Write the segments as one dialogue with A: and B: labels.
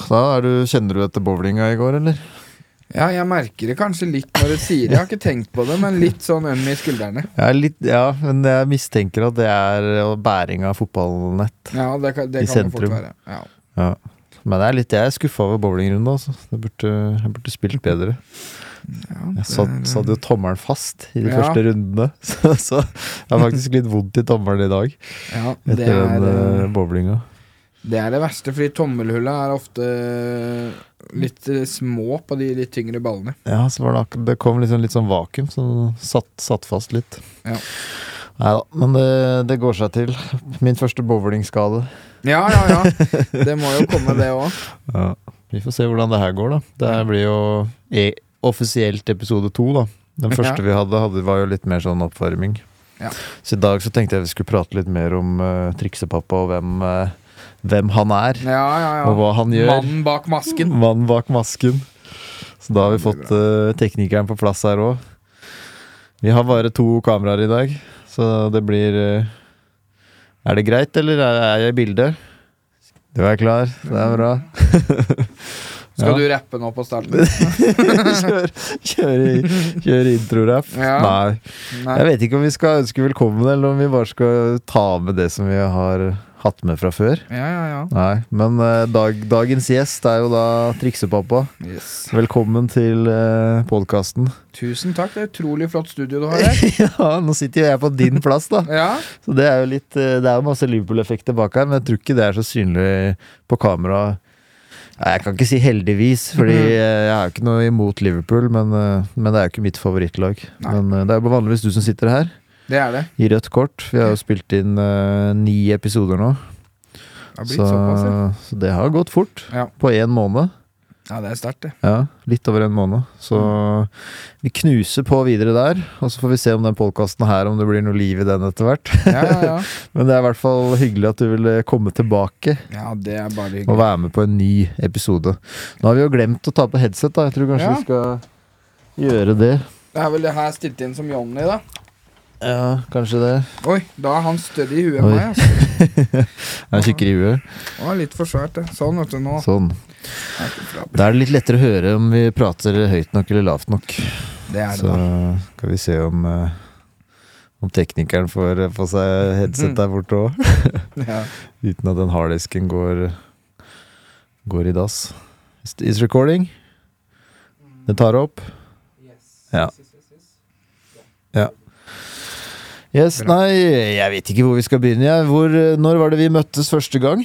A: Åsta, er du, kjenner du etter bowlinga i går, eller?
B: Ja, jeg merker det kanskje litt når du sier det. Jeg har ikke tenkt på det, men litt sånn øm i skuldrene.
A: Jeg er litt, ja, men jeg mistenker at det er eh, bæring av fotballnett.
B: Ja, det kan, det
A: I
B: kan det fort
A: sentrum.
B: være. Ja.
A: Ja. Men jeg er litt, jeg er skuffa over bowlingrunda. Altså. Jeg, burde, jeg burde spilt bedre.
B: Ja,
A: Jeg satt,
B: det-
A: satt jo tommelen fast i de
B: Mm. Ja.
A: første rundene, så, så jeg har faktisk litt vondt i tommelen i dag.
B: ja, det,
A: Etter den
B: er,
A: eh, bowlinga.
B: det er det verste, fordi tommelhullet er ofte litt eh, små på de litt tyngre ballene.
A: Ja, så var det, akkur- det kom liksom litt sånn vakuum, så den satt, satt fast litt.
B: Ja.
A: Nei da, men det, det går seg til. Min første bowlingskade.
B: Ja, ja, ja. Det må jo komme, det òg.
A: Ja. Vi får se hvordan det her går, da. Det her blir jo e offisielt episode to, da. Den første vi hadde, hadde, var jo litt mer sånn oppvarming.
B: Ja.
A: Så i dag så tenkte jeg vi skulle prate litt mer om eh, triksepappa og hvem, eh, hvem han er.
B: Ja, ja,
A: Og
B: ja.
A: hva han gjør.
B: Mannen bak masken.
A: Mannen bak masken. Så da har vi
B: Det blir
A: fått eh, teknikeren på plass her òg. Vi har bare to kameraer i dag, så det blir eh, Er det greit, eller er er jeg i bildet? Du er klar? Det er bra.
B: Skal
A: Ja.
B: du rappe nå på starten?
A: kjør, kjør, i- kjør introrapp.
B: Ja.
A: Nei. Jeg
B: Nei.
A: vet ikke om vi skal ønske velkommen, eller om vi bare skal ta med det som vi har hatt med fra før.
B: Ja, ja, ja.
A: Nei, Men eh, dag, dagens gjest er jo da triksepappa.
B: Yes.
A: Velkommen til eh, podkasten.
B: Tusen takk. Det er utrolig flott studio du har her.
A: ja, nå sitter jo jeg på din plass, da.
B: Ja,
A: Så det er jo litt eh, Det er jo masse Liverpool-effekter bak her, men jeg tror ikke det er så synlig på kamera. Nei, Jeg kan ikke si heldigvis, Fordi
B: Mhm.
A: eh, jeg er jo ikke noe imot Liverpool, men, eh, men det er jo ikke mitt favorittlag.
B: Nei.
A: Men eh, det er jo vanligvis du som sitter her,
B: det er det.
A: i rødt kort. Vi har jo spilt inn eh, ni episoder nå,
B: Det har blitt
A: så,
B: såpass, ja.
A: så det har gått fort.
B: Ja.
A: På én måned.
B: Ja, det er sterkt, det.
A: Ja, litt over en måned. Så vi knuser på videre der. Og så får vi se om den podkasten her, om det blir noe liv i den etter hvert.
B: Ja, ja, ja.
A: Men det er i hvert fall hyggelig at du ville komme tilbake
B: ja det er bare
A: og
B: hyggelig.
A: være med på en ny episode. Nå har vi jo glemt å ta på headset, da. Jeg tror kanskje
B: Ja.
A: vi skal gjøre det.
B: Det er vel det her stilt inn som Johnny, da.
A: Ja, kanskje det.
B: Oi, da er han større i huet enn
A: Oi.
B: meg. Altså.
A: Jeg er tjukkere i huet.
B: Å, litt for svært, det. Sånn, vet du. Nå
A: Sånn.
B: er ikke bra.
A: Da er det litt lettere å høre om vi prater høyt nok eller lavt nok.
B: Det er det,
A: Så
B: da.
A: skal vi se om, eh, om teknikeren får eh, få seg headset der borte òg.
B: Ja.
A: Uten at den harddisken går Går i dass. Is- Is recording? Den tar opp? Ja. Ja. Yes,
B: Bra.
A: nei, jeg vet ikke hvor vi skal begynne. Jeg. Hvor, eh, når var det vi møttes første gang?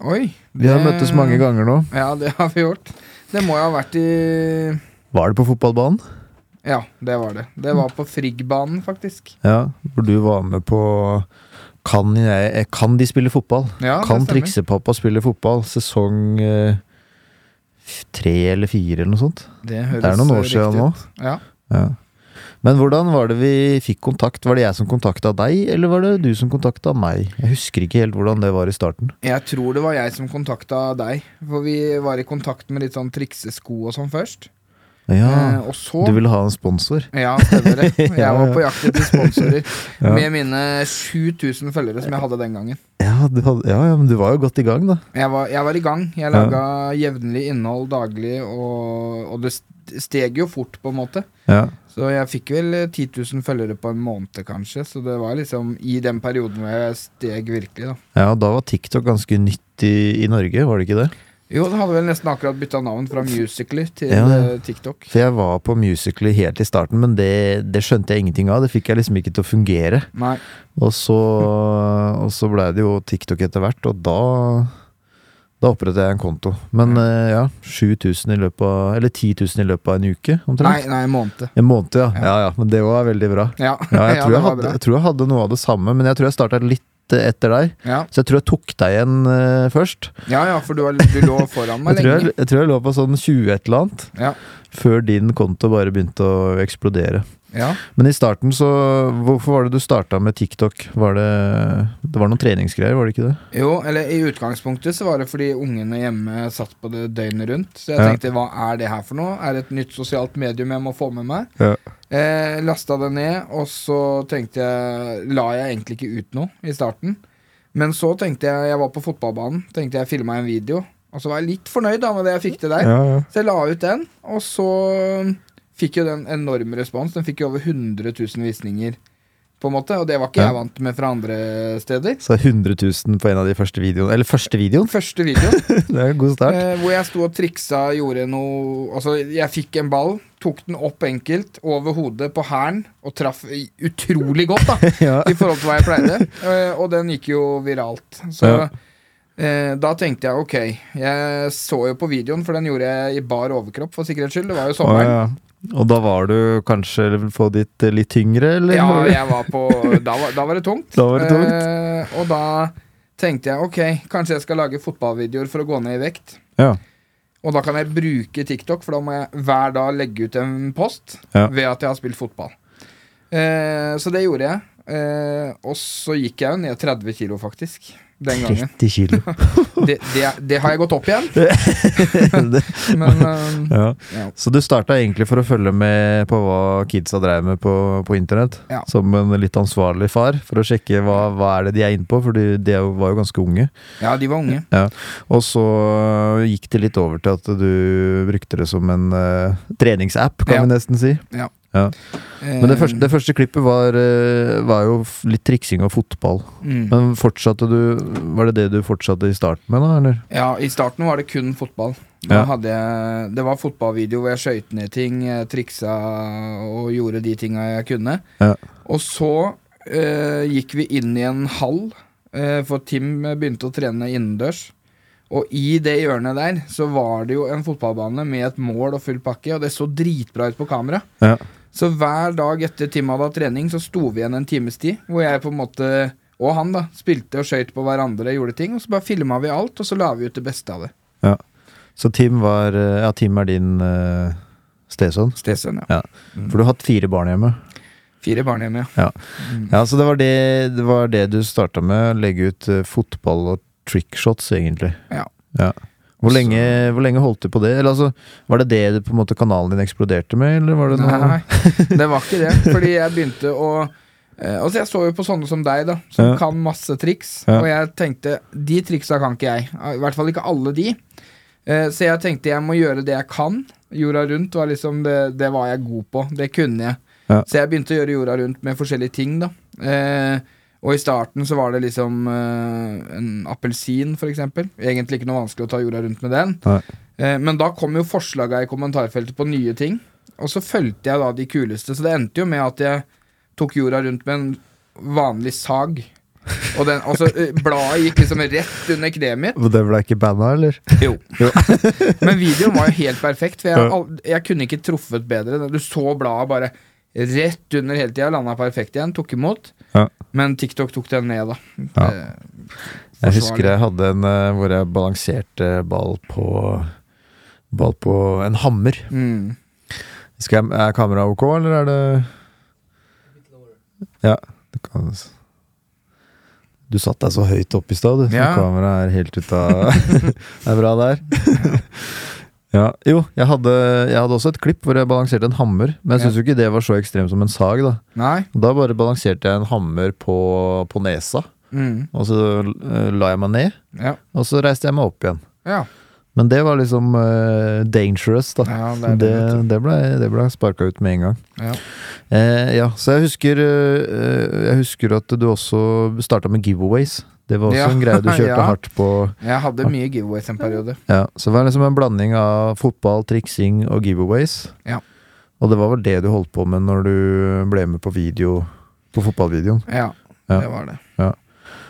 B: Oi.
A: Vi har
B: det-
A: møttes mange ganger nå.
B: Ja, det har vi gjort. Det må jo ha vært i
A: Var det på fotballbanen?
B: Ja, det var det. Det var på Friggbanen, faktisk.
A: Ja, hvor du var med på Kan, jeg, eh, kan de spille fotball?
B: Ja,
A: kan
B: det stemmer.
A: triksepappa spille fotball? Sesong eh, f- tre eller fire, eller noe sånt.
B: Det, høres eh,
A: Det er noen år
B: riktig
A: siden nå.
B: ut. Ja.
A: Ja. Men hvordan var det vi fikk kontakt? Var det jeg som kontakta deg, eller var det du som kontakta meg? Jeg husker ikke helt hvordan det var i starten.
B: Jeg tror det var jeg som kontakta deg. For vi var i kontakt med litt sånn triksesko og sånn først.
A: Ja,
B: Eh, og så
A: Du ville ha en sponsor?
B: Ja, stemmer det. Jeg var på jakt etter sponsorer
A: Ja.
B: med mine 7000 følgere som jeg hadde den gangen.
A: Ja, du hadde, ja, ja, men du var jo godt i gang, da.
B: Jeg var, jeg var i gang. Jeg laga jevnlig innhold daglig, og, og det st- steg jo fort, på en måte.
A: Ja,
B: Så jeg fikk vel eh, 10 000 følgere på en måned, kanskje. Så det var liksom i den perioden hvor jeg steg virkelig, da.
A: og da var TikTok ganske nytt i, i Norge, var det ikke det?
B: Jo, det hadde vel nesten akkurat bytta navn fra Musically til
A: Ja, ja.
B: eh, TikTok.
A: For jeg var på Musically helt i starten, men det, det skjønte jeg ingenting av. Det fikk jeg liksom ikke til å fungere.
B: Nei.
A: Og så, og så blei det jo TikTok etter hvert, og da da opprettet jeg en konto. Men eh, ja, 7000 i løpet av Eller 10 000 i løpet av en uke,
B: Nei,
A: omtrent.
B: nei, måned.
A: En måned, ja.
B: Ja.
A: ja. Ja, Men det var veldig bra.
B: Ja,
A: Ja, jeg, tror
B: det
A: jeg,
B: var
A: hadde,
B: bra.
A: jeg tror jeg hadde noe av det samme, men jeg tror jeg starta litt eh, etter deg.
B: Ja.
A: Så jeg tror jeg tok deg igjen eh, først.
B: ja ja, for du, har- du lå foran meg
A: Jeg tror jeg,
B: lenge.
A: jeg tror jeg lå på sånn 20 et eller annet,
B: Ja.
A: før din konto bare begynte å eksplodere.
B: Ja.
A: Men i starten, så Hvorfor var det du starta med TikTok? Var det Det var noen treningsgreier, var det ikke det?
B: Jo, eller i utgangspunktet så var det fordi ungene hjemme satt på det døgnet rundt. Så jeg
A: Ja.
B: tenkte hva er det her for noe? Er det et nytt sosialt medium jeg må få med meg?
A: Ja.
B: Eh, lasta det ned, og så tenkte jeg La jeg egentlig ikke ut noe i starten. Men så tenkte jeg Jeg var på fotballbanen. Tenkte jeg filma en video. Og så var jeg litt fornøyd da med det jeg fikk til der.
A: Ja, ja.
B: Så jeg la ut den, og så fikk jo den enorm respons. Den fikk jo over 100 000 visninger, på en måte, og det var ikke
A: Ja.
B: jeg vant med fra andre steder.
A: Så 100 000 på en av de første videoene. Eller første videoen!
B: Første videoen,
A: Det er en god start.
B: eh, hvor jeg sto og triksa, gjorde noe Altså, jeg fikk en ball, tok den opp enkelt, over hodet på hælen, og traff i- utrolig godt, da.
A: Ja.
B: Eh, i forhold til hva jeg pleide. Eh, Og den gikk jo viralt. Så
A: Ja.
B: eh, da tenkte jeg ok, jeg så jo på videoen, for den gjorde jeg i bar overkropp for sikkerhets skyld. Det var
A: Å,
B: jo sommeren.
A: ja. Og da var du kanskje på ditt eh, litt tyngre, eller?
B: Ja, jeg var på Da var, da var det tungt.
A: Da var det tungt.
B: Eh, og da tenkte jeg ok, kanskje jeg skal lage fotballvideoer for å gå ned i vekt.
A: Ja.
B: Og da kan jeg bruke TikTok, for da må jeg hver dag legge ut en post
A: Ja.
B: ved at jeg har spilt fotball. Eh, så det gjorde jeg. Eh, og så gikk jeg jo ned 30 kilo, faktisk. Den gangen.
A: 30 kilo.
B: det, det, det har jeg gått opp igjen,
A: Det-
B: men eh, øhm,
A: ja.
B: ja.
A: Så du starta egentlig for å følge med på hva kidsa drev med på, på internett?
B: Ja.
A: Som en litt ansvarlig far, for å sjekke hva, hva er det de er inne på? For de de er jo- var jo ganske unge.
B: ja, de var unge.
A: Og så gikk det litt over til at du brukte det som en eh, treningsapp, kan
B: Ja.
A: vi nesten si. Men det første, det første klippet var, eh, var jo f- litt triksing og fotball.
B: Mm.
A: Men fortsatte du Var det det du fortsatte i starten med, da? Eller?
B: Ja, I starten var det kun fotball. Da
A: Ja.
B: hadde jeg, det var fotballvideo hvor jeg skøyt ned ting, jeg triksa og gjorde de tinga jeg kunne.
A: Ja.
B: Og så øh, gikk vi inn i en hall, øh, for Tim begynte å trene innendørs. Og i det hjørnet der så var det jo en fotballbane med et mål og full pakke, og det så dritbra ut på kamera.
A: Ja.
B: Så hver dag etter Tim hadde hatt trening, så sto vi igjen en times tid, hvor jeg på en måte, og han da, spilte og skøyt på hverandre, gjorde ting, og så bare filma vi alt, og så la vi ut det beste av det.
A: Så Tim var eh, Ja, Tim er din uh, stesønn.
B: Stesønn, ja.
A: For du har hatt fire barn hjemme.
B: Fire barn hjemme, ja.
A: Ja, Så det var det, det, var det du starta med. å Legge ut eh, fotball og trickshots, egentlig.
B: Ja.
A: Hvor
B: Så-
A: lenge, hvor lenge holdt du på det? Eller altså, Var det det du, på en måte kanalen din eksploderte med? Eller var det noe?
B: Nei, det var ikke det, fordi jeg begynte å eh, Altså, jeg så jo på sånne som deg, da, som
A: Ja.
B: kan masse triks,
A: Ja.
B: og jeg tenkte de triksa kan ikke jeg. I hvert fall ikke alle de. Eh, Så jeg tenkte jeg må gjøre det jeg kan. Jorda rundt var liksom det, det var jeg god på. Det kunne jeg.
A: Ja.
B: Så jeg begynte å gjøre jorda rundt med forskjellige ting, da. Eh, og i starten så var det liksom eh, en appelsin, for eksempel. Egentlig ikke noe vanskelig å ta jorda rundt med den.
A: Nei.
B: Eh, men da kom jo forslaga i kommentarfeltet på nye ting. Og så fulgte jeg da de kuleste, så det endte jo med at jeg tok jorda rundt med en vanlig sag. Og den, altså, eh, bladet gikk liksom rett under kneet mitt.
A: Og Det ble ikke banna, eller?
B: Jo.
A: Jo.
B: Men videoen var jo helt perfekt, for jeg,
A: Ja.
B: al- jeg kunne ikke truffet bedre. Du så bladet bare rett under hele tida, landa perfekt igjen, tok imot.
A: Ja.
B: Men TikTok tok den ned, da.
A: Ja.
B: Eh,
A: Jeg
B: forsvarlig.
A: husker jeg hadde en eh, hvor jeg balanserte ball på Ball på en hammer.
B: Mm.
A: Skal jeg, er kameraet ok, eller er det Ja, du kan s- Du satt deg så høyt opp i stad, du. så
B: Ja.
A: Kameraet er helt ute av Det er bra der. Ja, jo, jeg hadde, jeg hadde også et klipp hvor jeg balanserte en hammer. Men jeg syns jo ikke det var så ekstremt som en sag. Da
B: Nei.
A: Da bare balanserte jeg en hammer på, på nesa,
B: Mm.
A: og så eh, la jeg meg ned.
B: Ja.
A: Og så reiste jeg meg opp igjen.
B: Ja.
A: Men det var liksom eh, dangerous, da.
B: ja, det
A: det,
B: er det.
A: det, ble, det ble sparka ut med en gang.
B: Ja.
A: Eh, ja, så jeg husker eh, Jeg husker at du også starta med giveaways. Det var også
B: Ja,
A: en greie du kjørte
B: ja.
A: hardt på.
B: Jeg hadde mye giveaways en periode.
A: Ja, så det var liksom en blanding av fotball, triksing og giveaways.
B: Ja.
A: Og det var vel det du holdt på med når du ble med på video På fotballvideoen.
B: Ja,
A: Ja.
B: det var det.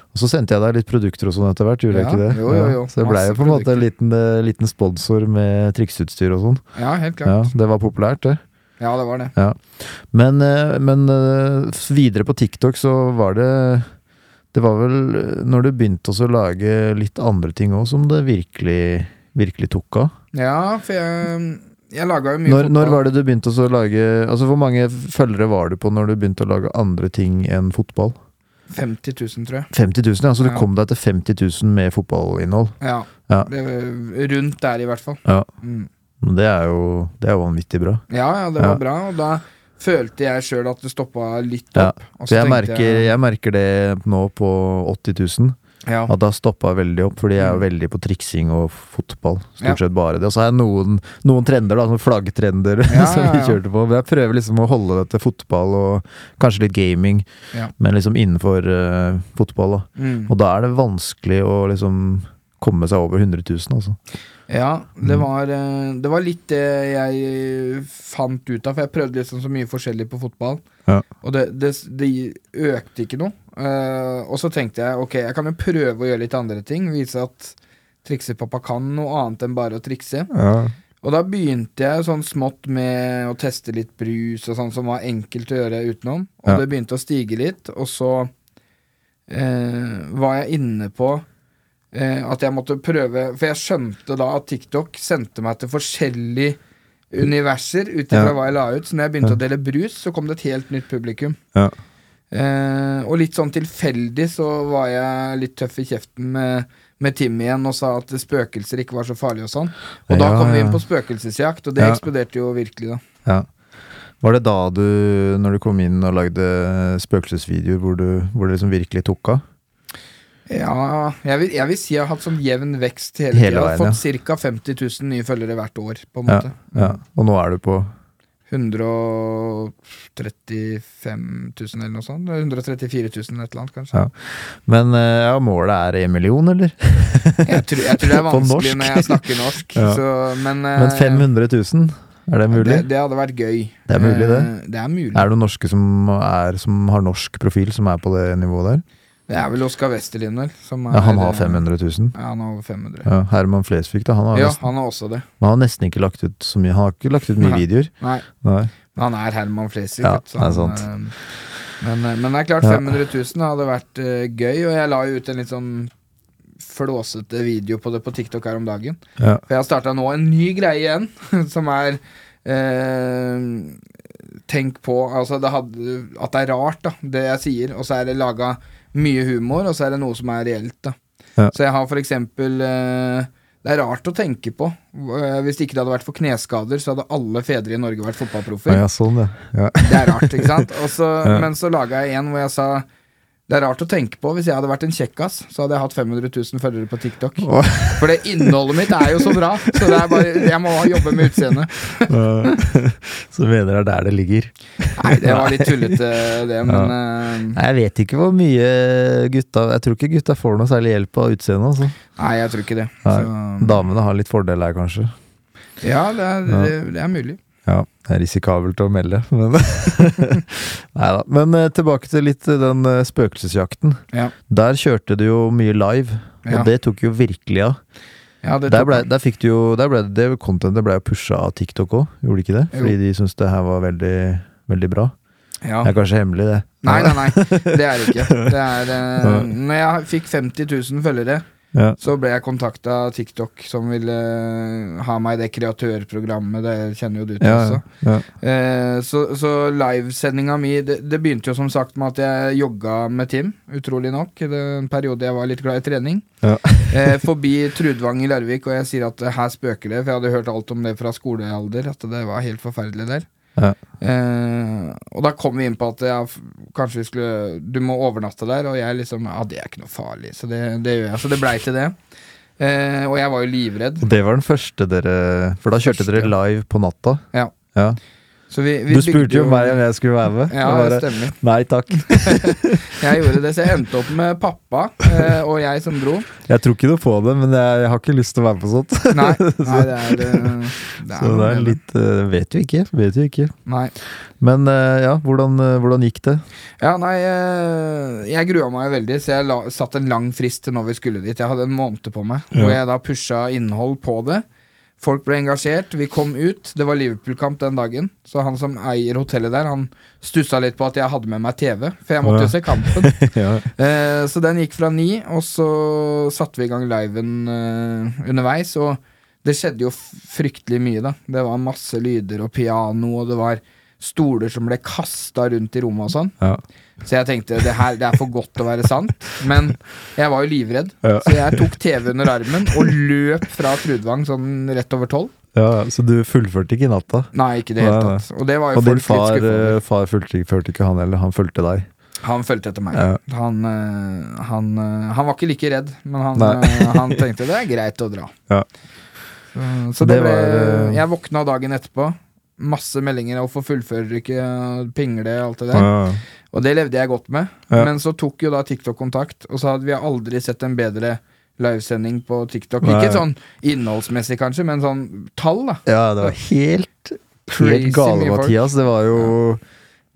A: Og så sendte jeg deg litt produkter og sånn etter hvert, gjorde
B: Ja,
A: jeg ikke det?
B: jo, jo, jo.
A: Ja, Så jeg blei
B: Masse
A: jo på en måte en liten, eh, liten sponsor med trikseutstyr og sånn.
B: Ja, helt
A: Ja,
B: klart.
A: det var populært, det.
B: Ja, det var det.
A: Men, eh, men eh, videre på TikTok så var det Det var vel eh, når du begynte også å lage litt andre ting òg, som det virkelig, virkelig tok av.
B: Ja, for jeg, mm, jeg laga jo mye
A: Når, når var det du begynte også å lage Altså Hvor mange følgere var du på når du begynte å lage andre ting enn fotball?
B: 50 000, tror jeg.
A: 50 000, ja. Så du
B: Ja.
A: kom deg til 50 000 med fotballinnhold.
B: Ja.
A: Ja.
B: Det, var rundt der, i hvert fall.
A: Ja.
B: Mm.
A: Men Det er jo det er jo vanvittig bra.
B: ja, ja, det var
A: Ja.
B: bra. Og da følte jeg sjøl at det stoppa litt
A: Ja.
B: opp. og
A: Så jeg
B: tenkte
A: merker, jeg merker det nå på 80 000.
B: Ja.
A: At det har stoppa veldig opp, for de er jo veldig på triksing og fotball.
B: Mm. Ja.
A: Stort sett bare det. Og så er det noen, noen trender, da, sånne flaggtrender
B: Ja,
A: som
B: ja,
A: vi
B: ja.
A: kjørte på. Men Jeg prøver liksom å holde det til fotball og kanskje litt gaming,
B: Ja.
A: men liksom innenfor eh, fotball. Da.
B: Mm.
A: Og da er det vanskelig å liksom komme seg over 100 000, altså.
B: Ja, det
A: Mm.
B: var, eh, det var litt det jeg fant ut av, for jeg prøvde liksom så mye forskjellig på fotball.
A: Ja.
B: Og det, det, det økte ikke noe. Eh, og så tenkte jeg ok, jeg kan jo prøve å gjøre litt andre ting. Vise at triksepappa kan noe annet enn bare å trikse. Og da begynte jeg sånn smått med å teste litt brus og sånn som var enkelt å gjøre utenom. Og
A: Ja.
B: det begynte å stige litt, og så eh, var jeg inne på eh, at jeg måtte prøve For jeg skjønte da at TikTok sendte meg til forskjellige universer ut ifra
A: Ja.
B: hva jeg la ut. Så når jeg begynte å dele brus, så kom det et helt nytt publikum.
A: Ja.
B: Eh, og litt sånn tilfeldig så var jeg litt tøff i kjeften med, med Tim igjen og sa at spøkelser ikke var så farlig og sånn. Og da
A: Ja,
B: kom vi
A: ja.
B: inn på spøkelsesjakt, og det
A: Ja.
B: eksploderte jo virkelig, da.
A: Ja. Var det da du, når du kom inn og lagde spøkelsesvideoer, hvor, du- hvor det liksom virkelig tok av?
B: Ja, jeg vil, jeg vil si jeg har hatt sånn jevn vekst hele,
A: Hele
B: tida.
A: veien,
B: Fått ca. 50 000 nye følgere hvert år, på en
A: Ja,
B: måte.
A: ja. Og nå er du på
B: 135 000 eller noe sånt. 134 000 eller et eller annet, kanskje.
A: Ja. Men eh, ja, målet er en million, eller?
B: Jeg tror, jeg tror det er
A: På
B: vanskelig
A: norsk.
B: når jeg snakker norsk,
A: Ja.
B: så, men, eh,
A: Men 500 000, er det mulig?
B: Det, det hadde vært gøy.
A: Det er mulig, det.
B: Eh, Det er mulig.
A: Er det noen norske som, er, som har norsk profil, som er på det nivået der?
B: Det er vel Oskar Westerlin, vel. Som er,
A: Ja, han har
B: eh,
A: 500 000.
B: Ja, han har over 500.
A: Ja, Herman Flesvig, da. Han har,
B: Ja,
A: nesten,
B: han har også det.
A: han har nesten ikke lagt ut så mye. Han har ikke lagt ut mye
B: Nei.
A: videoer.
B: Nei,
A: Nei.
B: men han er Herman Flesvig.
A: Ja,
B: vet du,
A: det
B: så
A: er
B: han,
A: sant.
B: eh, Men, eh, men det er klart,
A: Ja.
B: 500 000 hadde vært eh, gøy, og jeg la jo ut en litt sånn flåsete video på det på TikTok her om dagen.
A: Ja.
B: For jeg har starta nå en ny greie igjen, som er eh, Tenk på altså det hadde, at det er rart, da, det jeg sier. Og så er det laga mye humor, og så er det noe som er reelt. da
A: Ja.
B: Så jeg har for eksempel eh, Det er rart å tenke på. Eh, hvis ikke det hadde vært for kneskader, så hadde alle fedre i Norge vært fotballproffer.
A: Ja, sånn, ja. ja.
B: Det er rart, ikke sant? Og så-
A: Ja.
B: Men så laga jeg en hvor jeg sa det er rart å tenke på. Hvis jeg hadde vært en kjekkas, så hadde jeg hatt 500 000 følgere på TikTok.
A: Åh.
B: For det innholdet mitt er jo så bra, så det er bare, jeg må jobbe med utseendet.
A: så mener jeg det er der det ligger.
B: Nei, det var litt tullete, det, men eh,
A: Nei, Jeg vet ikke hvor mye gutta Jeg tror ikke gutta får noe særlig hjelp av utseendet. Altså.
B: Nei, jeg tror ikke det.
A: Nei.
B: Så,
A: Damene har litt fordel her, kanskje.
B: ja, det er, det, det er mulig.
A: Ja, det er risikabelt å melde, men Neida. Men eh, tilbake til litt eh, den eh, spøkelsesjakten.
B: Ja.
A: Der kjørte du jo mye live, og
B: Ja.
A: det tok jo virkelig av.
B: Ja, det
A: Der,
B: tok-
A: ble, der fikk du jo der ble, Det contentet ble jo pusha av TikTok òg, gjorde de ikke det?
B: Jo.
A: Fordi de syntes det her var veldig, veldig bra.
B: ja.
A: Det er kanskje hemmelig, det.
B: Nei, nei, nei. Det er det ikke. Det er, eh, når jeg fikk 50 000 følgere,
A: Ja.
B: så ble jeg kontakta av TikTok, som ville eh, ha meg i det kreatørprogrammet. Det kjenner jo du til
A: Ja,
B: også.
A: ja, ja.
B: Eh, så så livesendinga mi det, det begynte jo som sagt med at jeg jogga med Tim, utrolig nok. I den periode jeg var litt glad i trening.
A: Ja.
B: eh, forbi Trudvang i Larvik, og jeg sier at eh, her spøker det, for jeg hadde hørt alt om det fra skolealder, at det var helt forferdelig der.
A: Ja.
B: Eh, og da kom vi inn på at ja, f- kanskje vi skulle Du må overnatte der, og jeg liksom Ja, det er ikke noe farlig, så det, det gjør jeg. Så det blei til det. Eh, og jeg var jo livredd.
A: Og det var den første dere For da kjørte dere
B: Første.
A: live på natta.
B: Ja.
A: Ja.
B: Så vi, vi
A: Du spurte
B: bygde
A: jo meg om jeg skulle være med.
B: Ja,
A: Jeg
B: det
A: bare,
B: stemmer.
A: Nei takk.
B: Jeg gjorde det, så jeg endte opp med pappa eh, og jeg som dro.
A: Jeg tror ikke noe på det, men jeg, jeg har ikke lyst til å være med på sånt.
B: Nei, nei det er, eh, det er
A: Så
B: noe
A: det er
B: med
A: litt eh, Vet jo ikke. Vet jo ikke.
B: Nei.
A: Men eh, ja, hvordan, eh, hvordan gikk det?
B: Ja, nei, eh, jeg grua meg veldig, så jeg la, satt en lang frist til når vi skulle dit. Jeg hadde en måned på meg,
A: Ja.
B: hvor jeg da pusha innhold på det. Folk ble engasjert, vi kom ut. Det var Liverpool-kamp den dagen, så han som eier hotellet der, han stussa litt på at jeg hadde med meg TV, for jeg måtte
A: Ja.
B: jo se kampen.
A: ja.
B: Eh, så den gikk fra ni, og så satte vi i gang liven eh, underveis. Og det skjedde jo f- fryktelig mye, da. Det var masse lyder og piano, og det var stoler som ble kasta rundt i rommet og sånn.
A: Ja.
B: Så jeg tenkte det her det er for godt til å være sant. Men jeg var jo livredd,
A: Ja.
B: så jeg tok TV under armen og løp fra Trudvang sånn rett over tolv.
A: Så du fullførte ikke natta?
B: Nei, ikke i det hele
A: Nei, nei.
B: tatt. Og det var jo
A: Og din
B: folk litt
A: far,
B: skuffet over.
A: eh, far fulgte, ikke- fulgte ikke han heller, han fulgte deg.
B: Han fulgte etter meg.
A: Ja.
B: Han, eh, han, eh, han var ikke like redd, men han,
A: Nei.
B: eh, han tenkte det er greit å dra.
A: Ja.
B: Så, så det,
A: Det
B: ble
A: var, eh,
B: Jeg våkna dagen etterpå. Masse meldinger om 'hvorfor fullfører du ikke', 'pingle' og alt det der.
A: Ja.
B: Og det levde jeg godt med.
A: Ja.
B: Men så tok jo da TikTok kontakt, og så hadde vi aldri sett en bedre livesending på TikTok.
A: Nei.
B: Ikke sånn innholdsmessig, kanskje, men sånn tall, da.
A: ja, det var helt,
B: Crazy
A: helt gale,
B: mye folk.
A: Mathias. Det var jo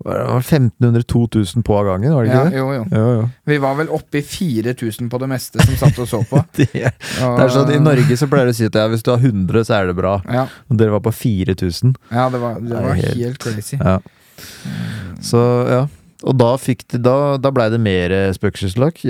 A: hva var det, 1500-2000 på av gangen, var det
B: Ja,
A: ikke det?
B: jo, jo.
A: Jo, jo.
B: Vi var vel oppe i 4000 på det meste som satt og så på.
A: Det er, det er sånn, I Norge så pleier du å si at ja, hvis du har 100, så er det bra.
B: Ja,
A: Og dere var på 4000.
B: ja det var, det
A: Det er
B: var
A: helt-
B: helt crazy.
A: Ja. Så, ja. Og da, fikk de, da, da blei det mer eh, spøkelsesjakt?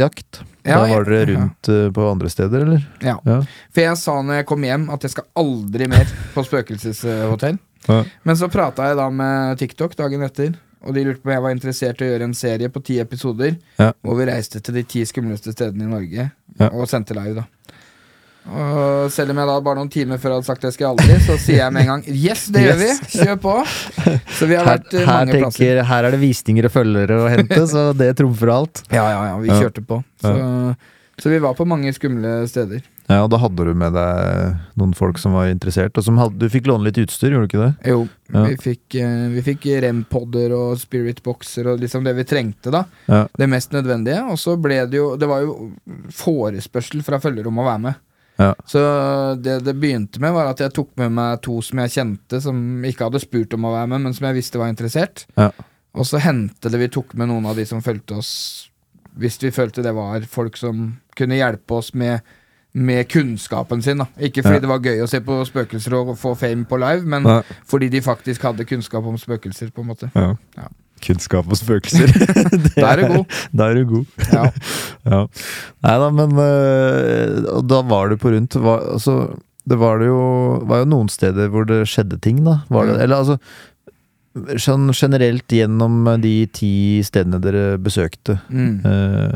B: Ja,
A: da var dere
B: jeg-
A: rundt eh, på andre steder, eller?
B: Ja.
A: Ja.
B: For jeg sa når jeg kom hjem at jeg skal aldri mer på spøkelseshotell.
A: Ja.
B: Men så prata jeg da med TikTok dagen etter, og de lurte på om jeg var interessert i å gjøre en serie på ti episoder
A: Ja.
B: hvor vi reiste til de ti skumleste stedene i Norge
A: Ja.
B: og sendte live, da. Og selv om jeg da bare noen timer før hadde sagt det skal jeg aldri, så sier jeg med en gang yes, det gjør vi! Kjør på! Så vi har
A: Her,
B: vært eh,
A: her,
B: mange plasser.
A: tenker, her er det visninger og følgere å hente, så det trumfer alt.
B: Ja, ja, ja, vi
A: Ja.
B: kjørte på. Så, så vi var på mange skumle steder.
A: Ja, og da hadde du med deg noen folk som var interessert, og som hadde, du fikk låne litt utstyr, gjorde du ikke det?
B: Jo,
A: Ja.
B: vi fikk, eh, vi fikk rempodder og spiritboxer og liksom det vi trengte, da.
A: Ja.
B: Det mest nødvendige. Og så ble det jo Det var jo forespørsel fra følgere om å være med.
A: Ja.
B: Så det det begynte med, var at jeg tok med meg to som jeg kjente, som ikke hadde spurt om å være med, men som jeg visste var interessert.
A: Ja.
B: Og så hendte det vi tok med noen av de som fulgte oss, hvis vi følte det var folk som kunne hjelpe oss med med kunnskapen sin, da. Ikke fordi
A: Ja.
B: det var gøy å se på spøkelser og få fame på live, men
A: Nei.
B: fordi de faktisk hadde kunnskap om spøkelser, på en måte. Ja.
A: Kunnskap og spøkelser. Det
B: Da er du god.
A: Da er du god.
B: Ja.
A: Ja. Nei da, men øh, Og da var du på rundt. Var, altså, det var det jo, var jo noen steder hvor det skjedde ting, da. Var det,
B: Mm.
A: eller altså Sånn generelt gjennom de ti stedene dere besøkte.
B: Mm.
A: øh,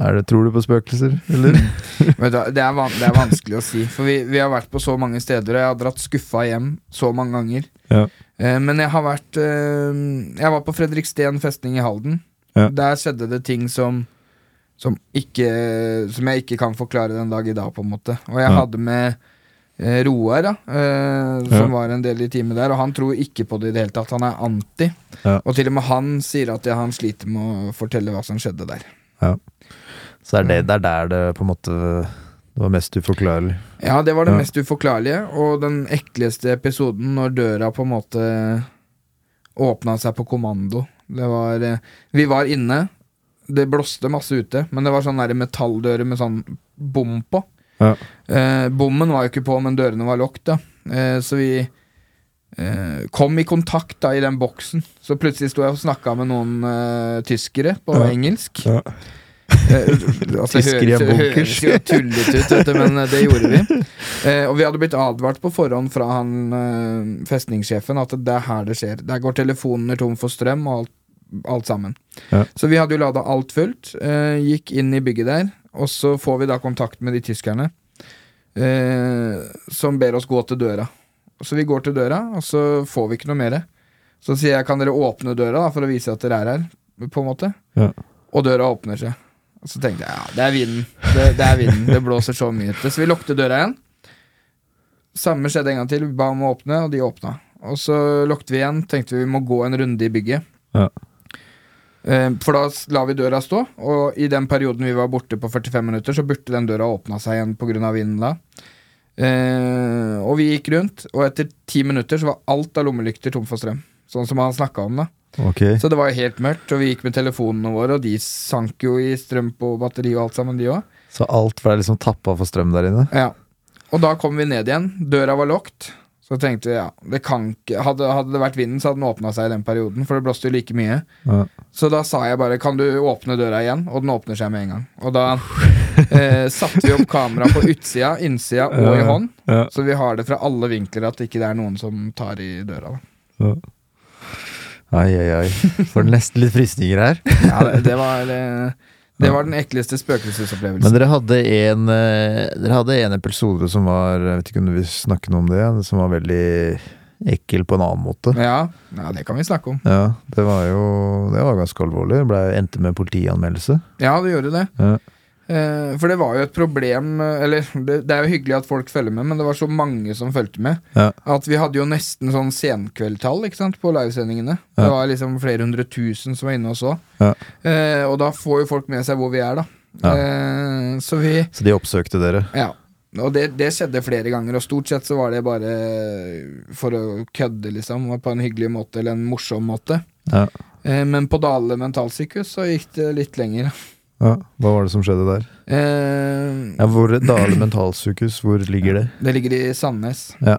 A: er det, tror du på spøkelser, eller?
B: Vet du, hva, det, er van det er vanskelig å si, for vi, vi har vært på så mange steder, og jeg har dratt skuffa hjem så mange ganger.
A: Ja.
B: Eh, men jeg har vært eh, Jeg var på Fredriksten festning i Halden.
A: Ja.
B: Der skjedde det ting som som, ikke, som jeg ikke kan forklare den dag i dag, på en måte. Og jeg
A: Ja.
B: hadde med eh, Roar, da, eh, som
A: Ja.
B: var en del i teamet der, og han tror ikke på det i det hele tatt. Han er anti.
A: Ja.
B: Og til og med han sier at ja, han sliter med å fortelle hva som skjedde der.
A: Så er det, det er der det på en måte Det var mest uforklarlig.
B: Ja, det var det
A: Ja.
B: mest uforklarlige, og den ekleste episoden når døra på en måte åpna seg på kommando. Det var eh, Vi var inne. Det blåste masse ute, men det var sånn der metalldører med sånn bom på.
A: Ja.
B: Eh, bommen var jo ikke på, men dørene var lukket, da. Eh, så vi eh, kom i kontakt da i den boksen. Så plutselig sto jeg og snakka med noen eh, tyskere på
A: Ja.
B: engelsk.
A: Ja.
B: Eh, altså, det
A: Tyskere i
B: høres, det
A: bunkers.
B: høres jo tullete ut, vet du, men eh, det gjorde vi. Eh, og vi hadde blitt advart på forhånd fra han eh, festningssjefen at det er her det skjer. Der går telefonene tom for strøm og alt, alt sammen.
A: Ja.
B: Så vi hadde jo lada alt fullt. Eh, gikk inn i bygget der, og så får vi da kontakt med de tyskerne eh, som ber oss gå til døra. Så vi går til døra, og så får vi ikke noe mer. Så sier jeg kan dere åpne døra da, for å vise at dere er her, på en måte.
A: Ja.
B: Og døra åpner seg. Og så tenkte jeg ja, det er vinden. Det, det er vinden. Det blåser så mye ute. Så vi lukket døra igjen. Samme skjedde en gang til. Vi ba om å åpne, og de åpna. Og så lukket vi igjen. Tenkte vi vi må gå en runde i bygget.
A: Ja.
B: Eh, For da s- la vi døra stå, og i den perioden vi var borte på 45 minutter, så burde den døra åpna seg igjen pga. vinden da. Eh, og vi gikk rundt, og etter ti minutter så var alt av lommelykter tom for strøm. Sånn som han snakka om, da.
A: Ok.
B: Så det var jo helt mørkt, og vi gikk med telefonene våre, og de sank jo i strøm på batteri og alt sammen, de òg.
A: Så alt ble liksom tappa for strøm der inne?
B: Ja. Og da kom vi ned igjen. Døra var lukket. Så tenkte vi ja, det kan ikke Hadde, hadde det vært vinden, så hadde den åpna seg i den perioden, for det blåste jo like mye.
A: Ja.
B: Så da sa jeg bare 'kan du åpne døra igjen?' Og den åpner seg med en gang. Og da eh, satte vi opp kamera på utsida, innsida og i
A: Ja,
B: hånd,
A: ja.
B: så vi har det fra alle vinkler at ikke det er noen som tar i døra. Da.
A: Ai, ai, ai. Får nesten litt fristninger her.
B: Ja, det, det var eh, Det var den ekleste spøkelsesopplevelsen.
A: Men dere hadde en eh, Dere hadde en episode som var Jeg vet ikke om du vil snakke noe om det, som var veldig Ekkel på en annen måte.
B: Ja, ja, det kan vi snakke om.
A: Ja, det var jo Det var ganske alvorlig. Det ble, endte med politianmeldelse.
B: Ja, det gjorde det.
A: Ja.
B: Eh, for det var jo et problem eh, Eller det, det er jo hyggelig at folk følger med, men det var så mange som fulgte med.
A: Ja.
B: At vi hadde jo nesten sånn senkveldtall ikke sant, på livesendingene.
A: Ja.
B: Det var liksom flere hundre tusen som var inne og så.
A: Ja.
B: Eh, og da får jo folk med seg hvor vi er, da.
A: Ja.
B: Eh, så vi
A: Så de oppsøkte dere.
B: Ja. Og det, det skjedde flere ganger, og stort sett så var det bare eh, for å kødde, liksom. og På en hyggelig måte, eller en morsom måte.
A: Ja.
B: Eh, men på Dale mentalsykehus så gikk det litt lenger.
A: Ja, Hva var det som skjedde der?
B: Eh,
A: Ja, hvor Dale mentalsykehus, hvor ligger det?
B: Det ligger i Sandnes.
A: Ja.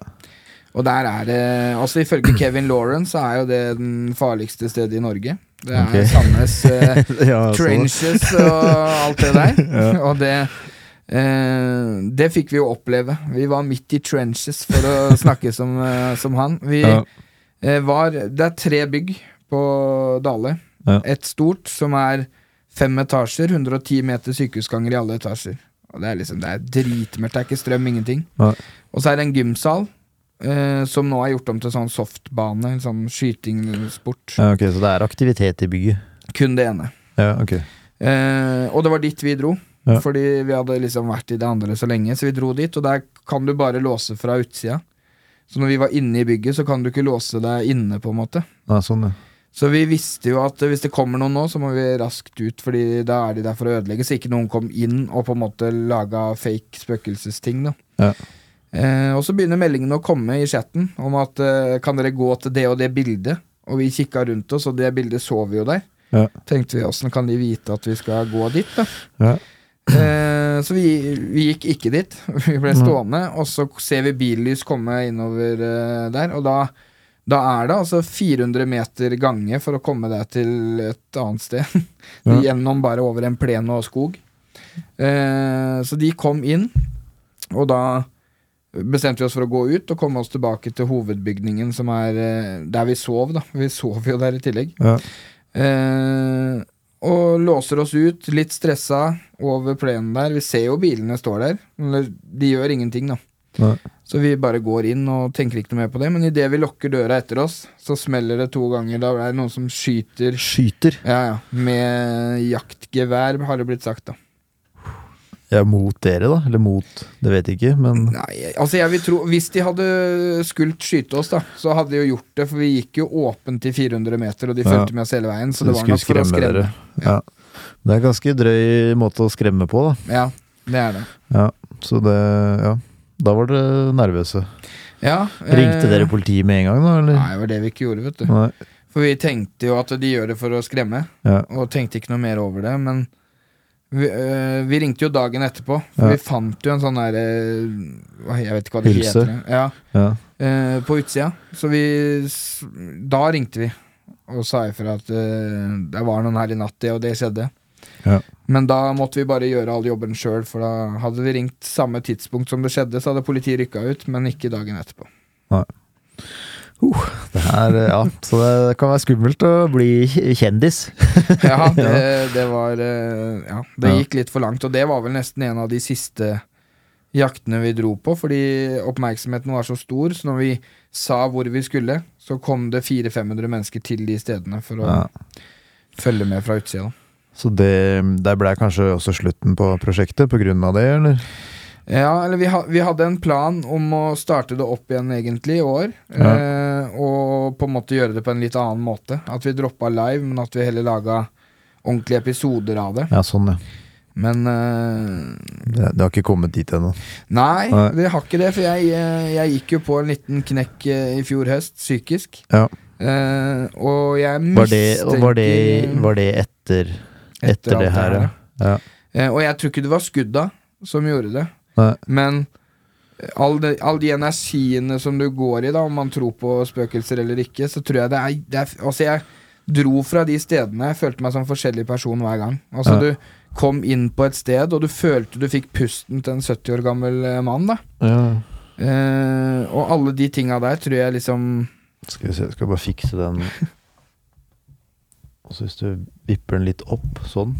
B: Og der er det Altså Ifølge Kevin Lawrence så er jo det den farligste stedet i Norge. Det er
A: Ok. Altså.
B: Sandnes eh,
A: ja, så-
B: trenches og alt det der.
A: Ja.
B: Og det eh, Det fikk vi jo oppleve. Vi var midt i trenches, for å snakke som, eh, som han. Vi
A: Ja.
B: eh, var Det er tre bygg på Dale.
A: Ja.
B: Et stort som er fem etasjer, 110 meter sykehusganger i alle etasjer. Og det er liksom Det er dritmørkt, det er ikke strøm, ingenting.
A: Nei.
B: Og så er det en gymsal. eh, som nå er gjort om til sånn softbane, en sånn skytingsport.
A: Ja, ok, Så det er aktivitet i bygget?
B: Kun det ene.
A: Ja, ok.
B: Eh, og det var dit vi dro.
A: Ja.
B: Fordi vi hadde liksom vært i det andre så lenge, så vi dro dit. Og der kan du bare låse fra utsida. Så når vi var inne i bygget, så kan du ikke låse deg inne, på en måte.
A: Nei, sånn, ja.
B: Så vi visste jo at eh, hvis det kommer noen nå, så må vi raskt ut, Fordi da er de der for å ødelegge, så ikke noen kom inn og på en måte laga fake spøkelsesting, da.
A: Ja.
B: Eh, og så begynner meldingene å komme i chatten om at eh, kan dere gå til det og det bildet? Og vi kikka rundt oss, og det bildet så vi jo der.
A: Ja.
B: Tenkte vi åssen kan de vite at vi skal gå dit, da?
A: Ja.
B: Eh, så vi, vi gikk ikke dit. Vi ble
A: Nei.
B: stående, og så ser vi billys komme innover eh, der. Og da, da er det altså 400 meter gange for å komme deg til et annet sted.
A: Ja.
B: Gjennom bare over en plen og skog. Eh, så de kom inn, og da bestemte vi oss for å gå ut og komme oss tilbake til hovedbygningen, som er eh, der vi sov, da. Vi sov jo der i tillegg.
A: Ja.
B: Eh, og låser oss ut, litt stressa, over plenen der. Vi ser jo bilene står der. Eller, de gjør ingenting, da.
A: Nei.
B: Så vi bare går inn og tenker ikke noe mer på det. Men idet vi lukker døra etter oss, så smeller det to ganger. Da er det noen som skyter
A: Skyter.
B: ja, ja, med jaktgevær, har det blitt sagt, da.
A: Ja, mot dere, da? Eller mot Det vet jeg ikke, men
B: Nei, altså jeg vil tro Hvis de hadde skult skyte oss, da, så hadde de jo gjort det. For vi gikk jo åpent i 400 meter, og de
A: Ja.
B: fulgte med oss hele veien. Så det
A: de
B: var nok for å skremme.
A: dere. Ja. Det er en ganske drøy måte å skremme på, da.
B: Ja, det er det.
A: Så det Ja. Da var dere nervøse.
B: Ja,
A: Ringte
B: eh,
A: dere politiet med en gang, da? Eller?
B: Nei, det var det vi ikke gjorde, vet du.
A: Nei.
B: For vi tenkte jo at de gjør det for å skremme,
A: Ja.
B: og tenkte ikke noe mer over det, men vi, øh, vi ringte jo dagen etterpå, for
A: Ja.
B: vi fant jo en sånn derre Jeg vet ikke hva det
A: Hylse.
B: heter. Ja,
A: Ja.
B: øh, på utsida. Så vi s- Da ringte vi og sa ifra at øh, det var noen her i natt, det og det skjedde.
A: Ja.
B: Men da måtte vi bare gjøre all jobben sjøl, for da hadde vi ringt samme tidspunkt som det skjedde, så hadde politiet rykka ut, men ikke dagen etterpå.
A: Det er, eh, ja. Så det kan være skummelt å bli kjendis.
B: Ja, det, det var eh, Ja, det
A: Ja.
B: gikk litt for langt. Og det var vel nesten en av de siste jaktene vi dro på, fordi oppmerksomheten var så stor. Så når vi sa hvor vi skulle, så kom det 400-500 mennesker til de stedene for å
A: Ja.
B: følge med fra utsida.
A: Så det, det ble kanskje også slutten på prosjektet på grunn av det, eller?
B: Ja, eller vi, ha, vi hadde en plan om å starte det opp igjen egentlig i år. Eh, og på en måte gjøre det på en litt annen måte. At vi droppa live, men at vi heller laga ordentlige episoder av det.
A: Ja, sånn, ja.
B: Men eh,
A: Det, det har ikke kommet dit ennå.
B: Nei,
A: Nei.
B: det har ikke det. For jeg, eh, jeg gikk jo på en liten knekk eh, i fjor høst, psykisk.
A: Ja.
B: Eh, og jeg
A: Var
B: mistenker
A: det, og var det, var det etter, etter,
B: alt
A: det her, ja? ja.
B: Eh, og jeg tror ikke det var skudda som gjorde det.
A: Nei.
B: Men eh, all, de, all de energiene som du går i, da, om man tror på spøkelser eller ikke, så tror jeg det er, det er Altså, jeg dro fra de stedene. Jeg følte meg som en forskjellig person hver gang. Altså,
A: Ja.
B: du kom inn på et sted, og du følte du fikk pusten til en 70 år gammel eh, mann, da.
A: Ja.
B: Eh, og alle de tinga der tror jeg liksom
A: Skal vi se, jeg skal bare fikse den. Og så hvis du vipper den litt opp, sånn.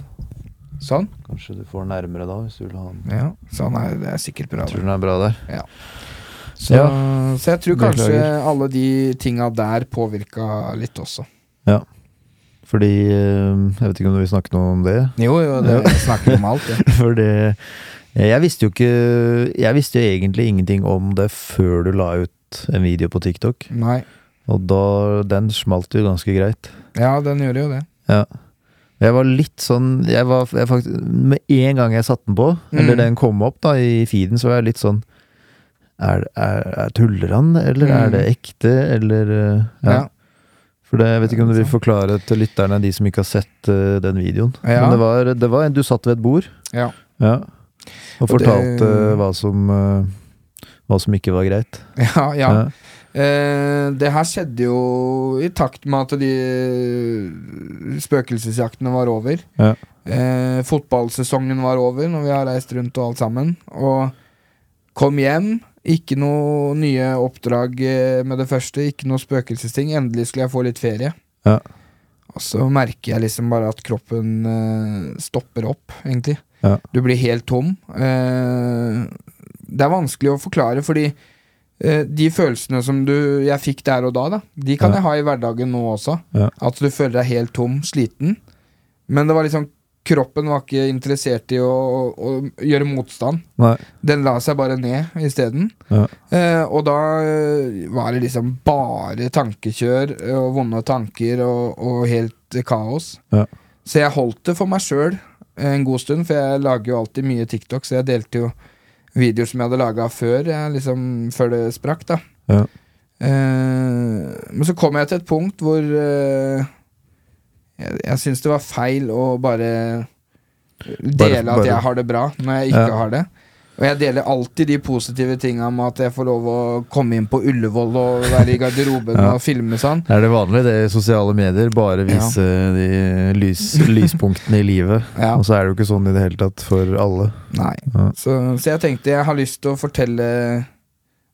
B: Sånn.
A: Kanskje du får den nærmere da, hvis du vil ha den.
B: Ja, sånn er det er sikkert bra.
A: Jeg tror
B: Det.
A: den er bra der.
B: Ja.
A: Så
B: Så, så jeg tror kanskje
A: Beklager.
B: alle de tinga der påvirka litt også.
A: Fordi eh, Jeg vet ikke om du vil snakke noe om det?
B: Jo, jo, det
A: Ja.
B: snakker vi om alt, det.
A: For det eh, Jeg visste jo ikke Jeg visste jo egentlig ingenting om det før du la ut en video på TikTok.
B: Nei.
A: Og da Den smalt jo ganske greit.
B: Ja, den gjør jo det.
A: Jeg var litt sånn jeg var, jeg faktisk, Med en gang jeg satte den på, eller
B: Mm.
A: den kom opp da i feeden, så var jeg litt sånn er, er, er Tuller han, eller
B: Mm.
A: er det ekte, eller eh,
B: Ja.
A: ja. For det, jeg vet ikke om du vil
B: Sant.
A: forklare til lytterne, de som ikke har sett eh, den videoen.
B: Ja.
A: Men det var, det var en du satt ved et bord
B: Ja.
A: Ja. og
B: Og det-
A: fortalte eh, hva som eh, hva som ikke var greit.
B: ja, ja. Eh, det her skjedde jo i takt med at de eh, spøkelsesjaktene var over.
A: Ja.
B: Eh, fotballsesongen var over når vi har reist rundt og alt sammen. Og kom hjem. Ikke noe nye oppdrag eh, med det første. Ikke noe spøkelsesting. Endelig skulle jeg få litt ferie.
A: Ja.
B: Og så merker jeg liksom bare at kroppen eh, stopper opp, egentlig.
A: Ja.
B: Du blir helt tom. Eh, det er vanskelig å forklare, fordi eh, de følelsene som du, jeg fikk der og da, da de kan
A: Ja.
B: jeg ha i hverdagen nå også.
A: Ja.
B: At du føler deg helt tom, sliten. Men det var liksom kroppen var ikke interessert i å, å, å gjøre motstand.
A: Nei.
B: Den la seg bare ned isteden.
A: Ja.
B: Eh, og da eh, var det liksom bare tankekjør eh, og vonde tanker og, og helt eh, kaos.
A: Ja.
B: Så jeg holdt det for meg sjøl en god stund, for jeg lager jo alltid mye TikTok, så jeg delte jo videoer som jeg hadde laga før, jeg liksom, før det sprakk, da.
A: Ja.
B: Eh, men så kom jeg til et punkt hvor eh, jeg, jeg syns det var feil å bare dele at
A: bare-
B: jeg har det bra, når jeg ikke
A: Ja.
B: har det. Og jeg deler alltid de positive tinga med at jeg får lov å komme inn på Ullevål og være i garderoben
A: Ja.
B: og filme sånn.
A: Er det vanlig det i sosiale medier? Bare vise de lys, lyspunktene i livet.
B: Ja.
A: Og så er det jo ikke sånn i det hele tatt for alle.
B: Nei.
A: Ja.
B: Så, så jeg tenkte jeg har lyst til å fortelle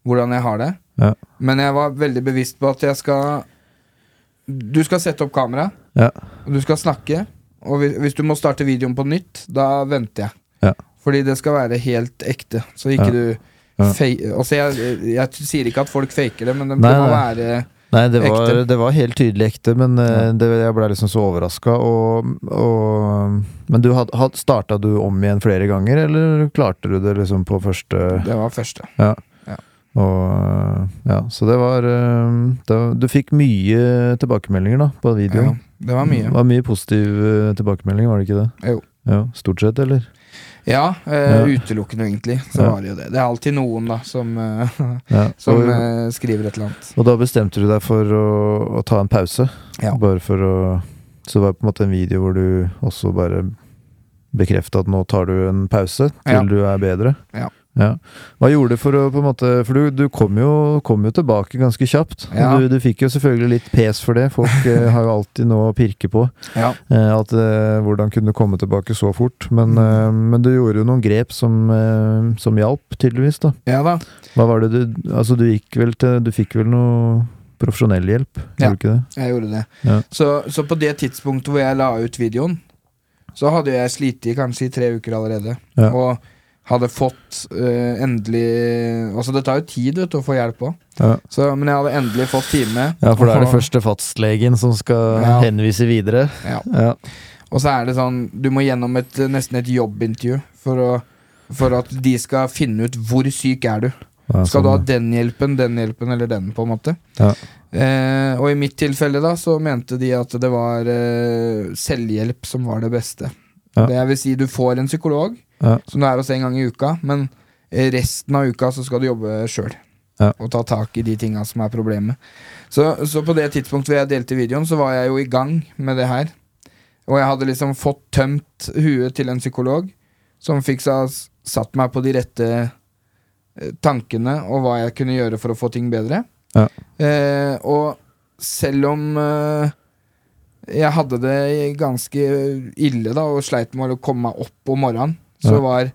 B: hvordan jeg har det.
A: Ja.
B: Men jeg var veldig bevisst på at jeg skal Du skal sette opp kamera,
A: Ja.
B: og du skal snakke. Og hvis, hvis du må starte videoen på nytt, da venter jeg.
A: Ja.
B: Fordi det skal være helt ekte. Så ikke
A: Ja.
B: du
A: Ja.
B: fei, altså jeg, jeg sier ikke at folk faker det, men det,
A: Nei,
B: det må
A: nei.
B: være
A: Nei, det var,
B: Ekte.
A: det var helt tydelig ekte, men eh,
B: Ja.
A: det, jeg ble liksom så overraska. Og, og Men du had, had, starta du om igjen flere ganger, eller klarte du det liksom på første
B: Det var første.
A: og, Ja, så det var, eh, det var Du fikk mye tilbakemeldinger da på
B: Ja,
A: videoen.
B: det var mye.
A: Det var mye positiv eh, tilbakemelding, var det ikke det?
B: Jo.
A: Ja, stort sett, eller?
B: Ja, eh,
A: Ja.
B: utelukkende egentlig. Så
A: Ja.
B: var det jo det. Det er alltid noen, da, som, eh,
A: Ja.
B: som
A: og,
B: eh, skriver et eller annet.
A: og da bestemte du deg for å, å ta en pause?
B: Ja.
A: Bare for å Så det var på en måte en video hvor du også bare bekrefta at nå tar du en pause til
B: Ja.
A: du er bedre?
B: Ja.
A: Hva gjorde du for å på en måte For du, du kom, jo, kom jo tilbake ganske kjapt.
B: Ja.
A: Du, du fikk jo selvfølgelig litt pes for det. Folk eh, har jo alltid noe å pirke på.
B: Ja.
A: Eh, at, eh, hvordan kunne du komme tilbake så fort? Men,
B: Mm.
A: eh, men du gjorde jo noen grep som, eh, som hjalp, tydeligvis. da
B: ja da.
A: Hva var det du Altså, du gikk vel til Du fikk vel noe profesjonell hjelp?
B: Ja.
A: Gjorde du ikke det?
B: Jeg gjorde det.
A: Ja.
B: Så, så på det tidspunktet hvor jeg la ut videoen, så hadde jeg slitt i kanskje i tre uker allerede.
A: Ja.
B: Og hadde fått eh, endelig Altså, det tar jo tid vet du, å få hjelp òg,
A: Ja.
B: men jeg hadde endelig fått time.
A: Ja, for da er det
B: Og-
A: første fastlegen som skal
B: Ja.
A: henvise videre.
B: Ja.
A: Ja.
B: Og så er det sånn, du må gjennom et, nesten et jobbintervju for, å, for at de skal finne ut hvor syk er du.
A: Ja, sånn,
B: Skal du ha den hjelpen, den hjelpen eller den, på en måte?
A: Ja.
B: Eh, og i mitt tilfelle da, så mente de at det var eh, selvhjelp som var det beste.
A: Ja.
B: Det vil si, du får en psykolog,
A: Ja.
B: som du er hos en gang i uka, men eh, resten av uka så skal du jobbe sjøl.
A: Ja.
B: Og ta tak i de tinga som er problemet. Så, så på det tidspunktet hvor jeg delte videoen, så var jeg jo i gang med det her. Og jeg hadde liksom fått tømt huet til en psykolog, som fikk sa, satt meg på de rette eh, tankene og hva jeg kunne gjøre for å få ting bedre.
A: Ja.
B: Eh, og selv om eh, jeg hadde det ganske ille da og sleit med å komme meg opp om morgenen, så
A: Ja.
B: var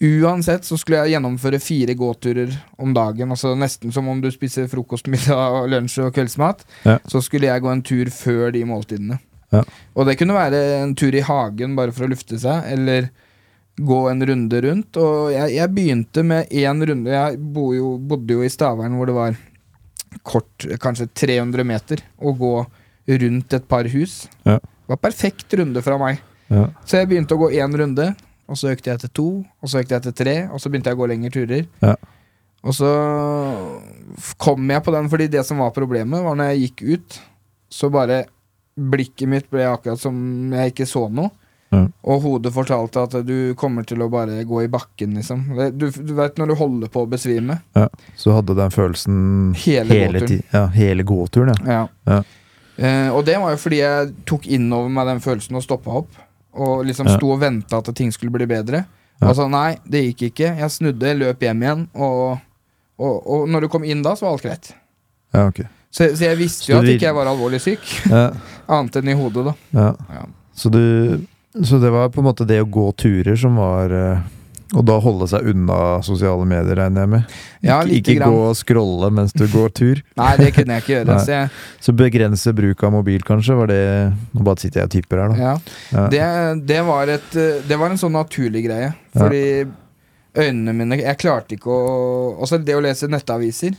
B: Uansett så skulle jeg gjennomføre fire gåturer om dagen. Altså Nesten som om du spiser frokost, middag, og lunsj og kveldsmat.
A: Ja.
B: Så skulle jeg gå en tur før de måltidene.
A: Ja.
B: Og det kunne være en tur i hagen bare for å lufte seg, eller gå en runde rundt. Og jeg, jeg begynte med én runde. Jeg bo jo, bodde jo i Stavern hvor det var kort, kanskje 300 meter, å gå rundt et par hus.
A: Ja.
B: Det var perfekt runde fra meg.
A: Ja.
B: Så jeg begynte å gå én runde, og så økte jeg til to, og så økte jeg til tre, og så begynte jeg å gå lengre turer.
A: Ja.
B: Og så f- kom jeg på den, fordi det som var problemet, var når jeg gikk ut, så bare blikket mitt ble akkurat som jeg ikke så noe.
A: Ja.
B: Og hodet fortalte at du kommer til å bare gå i bakken, liksom. Det- Du, du veit når du holder på å besvime.
A: Så du hadde den følelsen
B: Hele,
A: hele,
B: gåturen.
A: ti- ja, hele gåturen, ja.
B: Ja.
A: Ja.
B: Eh, og det var jo fordi jeg tok innover meg den følelsen og stoppa opp. Og liksom
A: Ja.
B: sto og venta at ting skulle bli bedre.
A: Ja.
B: Altså nei, det gikk ikke. Jeg snudde, løp hjem igjen. Og, og, og når du kom inn da, så var alt greit.
A: Ja, ok.
B: Så, så jeg visste
A: Så
B: jo at
A: du-
B: ikke jeg var alvorlig syk.
A: Ja,
B: Annet enn i hodet, da.
A: ja.
B: Ja.
A: Så, du, så det var på en måte det å gå turer som var eh, Og da holde seg unna sosiale medier, regner jeg med.
B: Ja,
A: Ikke-
B: lite
A: ikke
B: grann.
A: gå og scrolle mens du går tur.
B: Nei, det kunne jeg ikke gjøre.
A: Nei.
B: Så jeg,
A: Så begrense bruk av mobil, kanskje, var det Nå bare sitter jeg og tipper her, da.
B: ja.
A: Ja.
B: det, det, var et, eh, det var en sånn naturlig greie. Fordi øynene mine Jeg klarte ikke å Også det å lese nettaviser.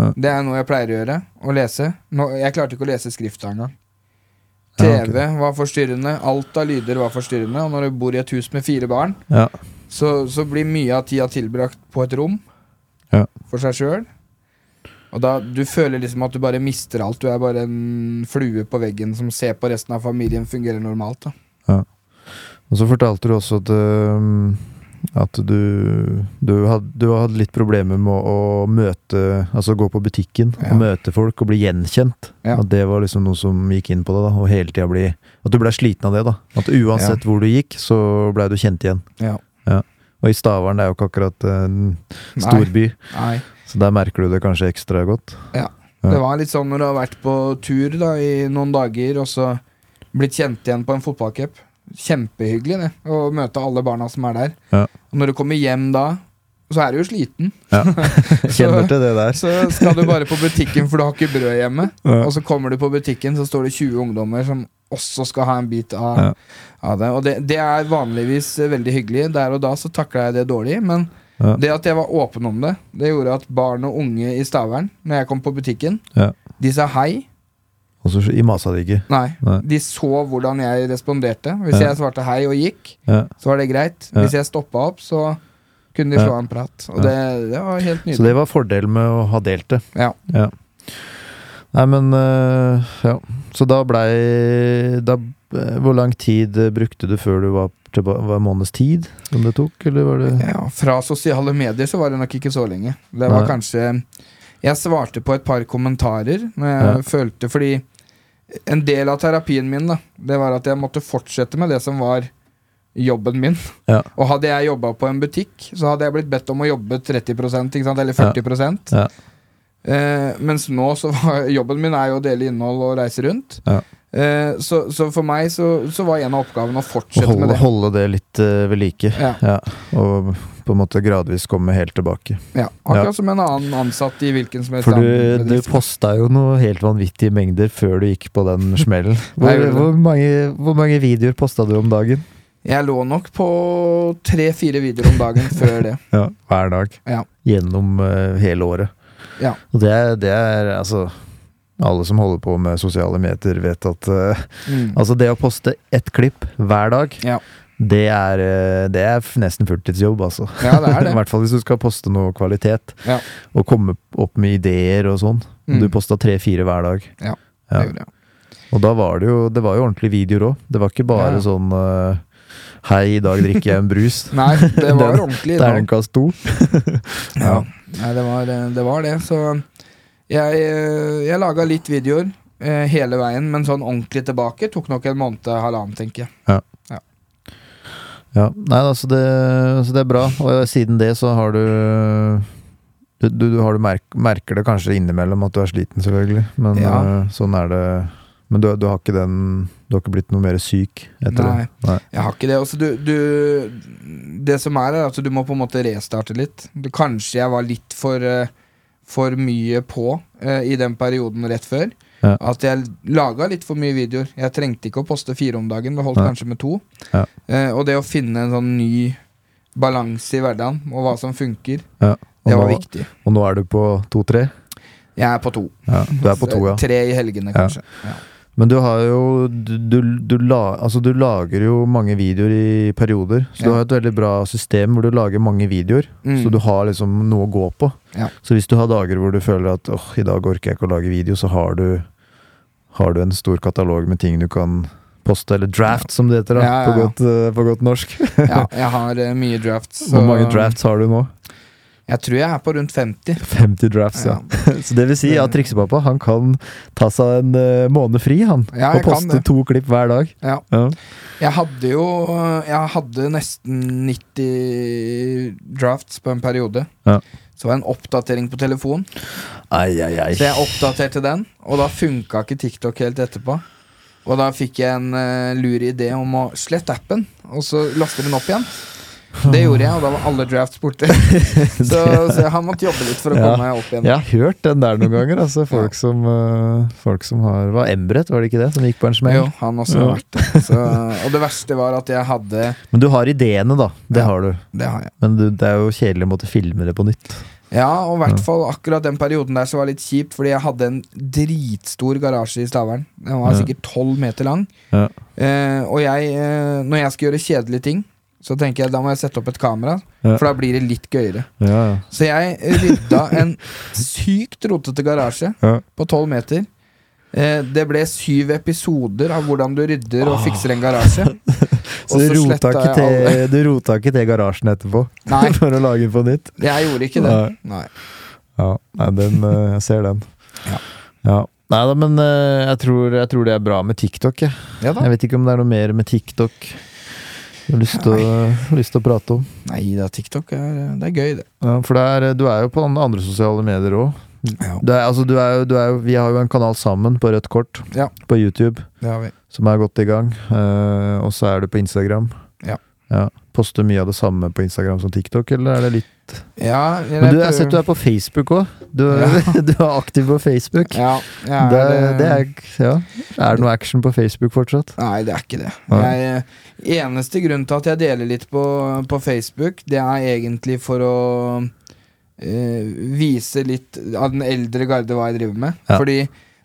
A: Ja.
B: Det er noe jeg pleier å gjøre. Å lese. Nå, jeg klarte ikke å lese skrifta engang. TV
A: Ja, ok.
B: var forstyrrende. Alt av lyder var forstyrrende. Og når du bor i et hus med fire barn,
A: Ja.
B: så, så blir mye av tida tilbrakt på et rom
A: Ja.
B: for seg sjøl. Og da du føler liksom at du bare mister alt. Du er bare en flue på veggen som ser på resten av familien fungere normalt. da
A: Og så fortalte du også at, øhm, at du, du, had, du har hatt litt problemer med å, å møte Altså gå på butikken
B: Ja.
A: og møte folk og bli gjenkjent.
B: Ja.
A: At det var liksom noe som gikk inn på deg, da. Og hele tida bli At du blei sliten av det, da. At uansett hvor du gikk, så blei du kjent igjen.
B: Ja.
A: Og i Stavern det er jo ikke akkurat en
B: Nei,
A: storby,
B: nei.
A: så der merker du det kanskje ekstra godt. Ja.
B: Det var litt sånn når du har vært på tur da, i noen dager, og så blitt kjent igjen på en fotballcup. Kjempehyggelig det, å møte alle barna som er der.
A: Ja.
B: Og når du kommer hjem da, så er du jo sliten.
A: Kjenner til det der.
B: Så skal du bare på butikken, for du har ikke brød hjemme.
A: Altså- Ja.
B: Og så kommer du på butikken, så står det 20 ungdommer som også skal ha en bit av,
A: Ja.
B: av det. Og det, det er vanligvis eh, veldig hyggelig. Der og da så takla jeg det dårlig, men
A: Ja.
B: det at jeg var åpen om det, det gjorde at barn og unge i Stavern, når jeg kom på butikken,
A: Ja.
B: de sa hei.
A: Og så i masa det ikke.
B: Nei.
A: Nei.
B: De så hvordan jeg responderte. Hvis
A: Ja.
B: jeg svarte hei og gikk,
A: Ja.
B: så var det greit.
A: Ja.
B: Hvis jeg stoppa opp, så kunne de
A: Ja.
B: slå en prat. Og
A: Ja.
B: det, det var
A: Så
B: helt nydelig.
A: det var fordelen med å ha delt det.
B: Ja.
A: Nei, men øh, Ja. Så da blei da, eh, Hvor lang tid eh, brukte du før du var tilba- Var det en måneds tid som det tok, eller var det
B: Ja, fra sosiale medier så var det nok ikke så lenge. Det var
A: Nei.
B: kanskje Jeg svarte på et par kommentarer når jeg
A: Ja.
B: følte Fordi en del av terapien min da Det var at jeg måtte fortsette med det som var jobben min.
A: Ja.
B: Og hadde jeg jobba på en butikk, så hadde jeg blitt bedt om å jobbe 30 ikke sant? eller 40
A: Ja.
B: Eh, Mens nå så var jobben min er jo å dele innhold og reise rundt.
A: Ja.
B: Eh, så, så for meg så, så var en av oppgavene
A: å
B: å fortsette
A: holde,
B: med det.
A: holde det litt eh, ved like?
B: Ja.
A: Og på en måte gradvis komme helt tilbake.
B: Ja, akkurat som en annen ansatt i hvilken som helst
A: For du,
B: annen
A: du
B: bedrift.
A: posta jo noe helt vanvittige mengder før du gikk på den smellen.
B: Nei, jeg
A: Hvor,
B: gjorde det.
A: hvor, mange, hvor mange videoer posta du om dagen?
B: Jeg lå nok på tre-fire videoer om dagen før det.
A: Ja, Hver dag.
B: Ja.
A: Gjennom eh, hele året.
B: Ja.
A: Og det er, det er altså Alle som holder på med sosiale medier, vet at eh,
B: Mm.
A: Altså det å poste ett klipp hver dag,
B: Ja.
A: det, er, eh, det er f- nesten fulltidsjobb, altså.
B: Ja, det er
A: I
B: det.
A: hvert fall hvis du skal poste noe kvalitet,
B: Ja.
A: og komme opp med ideer og sånn.
B: Mm.
A: Du posta tre-fire hver dag.
B: Ja,
A: Ja.
B: Det gjorde jeg.
A: Og da var det jo Det var jo ordentlige videoer òg. Det var ikke bare
B: Ja.
A: sånn eh, Hei, i dag drikker jeg en brus.
B: Nei, det var
A: Den-
B: ordentlig. innhold.
A: Terningkast to.
B: Ja. Nei, det var eh, det. Var det. Så jeg, eh, jeg laga litt videoer eh, hele veien, men sånn ordentlig tilbake tok nok en måned, halvannen, tenker jeg.
A: Ja, nei, altså det, så det er bra. Og eh, siden det så har du du, du, du har du merk, merker det kanskje innimellom at du er sliten, selvfølgelig. Men
B: Ja.
A: øh, sånn er det. Men du, du har ikke den Du har ikke blitt noe mer syk etter
B: Nei,
A: det? Nei.
B: Jeg har ikke det. Altså, du, du, det som er, er at du må på en måte restarte litt. Du, kanskje jeg var litt for, eh, for mye på eh, i den perioden rett før.
A: Ja.
B: At jeg laga litt for mye videoer. Jeg trengte ikke å poste fire om dagen. Det holdt
A: Nei.
B: kanskje med to.
A: Ja.
B: Eh, og det å finne en sånn ny balanse i hverdagen og hva som funker.
A: Ja. Og,
B: Det var
A: nå,
B: viktig.
A: og nå er du på to-tre?
B: Jeg er på to.
A: Ja, du er på to, ja.
B: Tre i helgene,
A: Ja.
B: kanskje. Ja.
A: Men du har jo du, du, du, la, altså du lager jo mange videoer i perioder. Så du
B: Ja.
A: har et veldig bra system hvor du lager mange videoer.
B: Mm.
A: Så du har liksom noe å gå på.
B: Ja.
A: Så hvis du har dager hvor du føler at åh, i dag orker jeg ikke å lage video, så har du, har du en stor katalog med ting du kan poste, eller draft som det heter da,
B: Ja, ja,
A: På,
B: ja.
A: godt, eh, på godt norsk.
B: ja, jeg har eh, mye drafts. så-
A: Hvor mange drafts har du nå?
B: Jeg tror jeg er på rundt 50.
A: 50 drafts, ja. Så det vil si at triksepappa han kan ta seg en eh, måned fri, han.
B: Ja,
A: og
B: jeg kan
A: poste
B: det.
A: to klipp hver dag.
B: Ja.
A: Ja.
B: Jeg hadde jo øh, Jeg hadde nesten 90 drafts på en periode.
A: Ja.
B: Så var det en oppdatering på telefon,
A: Ai, ai, ai.
B: så jeg oppdaterte den. Og da funka ikke TikTok helt etterpå. Og da fikk jeg en øh, lur idé om å slette appen, og så laste den opp igjen. Det gjorde jeg, og da var alle drafts borte. Så, så han måtte jobbe litt for å
A: Ja.
B: komme meg opp igjen.
A: Jeg har hørt den der noen ganger. Altså, folk, som, eh, folk som har Var Embret, var det ikke det? Som gikk på en smell?
B: Jo, han også har
A: Ja.
B: vært det. Så, og det verste var at jeg hadde
A: Men du har ideene, da. Det
B: Ja.
A: har du.
B: Det har jeg.
A: Men du, det er jo kjedelig å måtte filme det på nytt.
B: Ja, og i hvert fall akkurat den perioden der så var det litt kjipt, fordi jeg hadde en dritstor garasje i Stavern. Den var
A: Ja.
B: sikkert tolv meter lang.
A: Ja.
B: Eh, og jeg, eh, når jeg skal gjøre kjedelige ting, så tenker jeg da må jeg sette opp et kamera,
A: Ja.
B: for da blir det litt gøyere.
A: Ja,
B: Så jeg rydda en sykt rotete garasje
A: Ja.
B: på tolv meter. Eh, det ble syv episoder av hvordan du rydder og fikser en garasje.
A: Ah. Så du rota,
B: sletta
A: ikke
B: jeg alle-
A: til, du rota ikke til garasjen etterpå
B: Nei,
A: for å lage den på nytt?
B: jeg gjorde ikke det. Nei.
A: Ja, nei, den, eh, jeg ser den.
B: Ja.
A: ja. Nei da, men eh, jeg tror, jeg tror det er bra med TikTok. Jeg.
B: Ja da.
A: jeg vet ikke om det er noe mer med TikTok jeg har lyst til å, har lyst til å prate om.
B: Nei da, TikTok er, det er gøy, det.
A: Ja, for det er, eh, du er jo på andre sosiale medier òg.
B: Ja,
A: Det er, altså, du er jo, du er jo, vi har jo en kanal sammen på Rødt Kort
B: Ja.
A: på YouTube,
B: det har vi.
A: som er godt i gang. Eh, og så er du på Instagram.
B: Ja.
A: Poster mye av det samme på Instagram som TikTok, eller er det litt
B: Ja,
A: Men
B: eller
A: du, jeg
B: prøver-
A: har sett du er på Facebook òg. Du, du er aktiv på Facebook.
B: Ja, jeg
A: det,
B: er,
A: det er, ja. er det noe action på Facebook fortsatt?
B: Nei, det er ikke det.
A: Nei.
B: Jeg, eneste grunn til at jeg deler litt på, på Facebook, det er egentlig for å eh, vise litt av den eldre garde hva jeg driver med.
A: Ja.
B: Fordi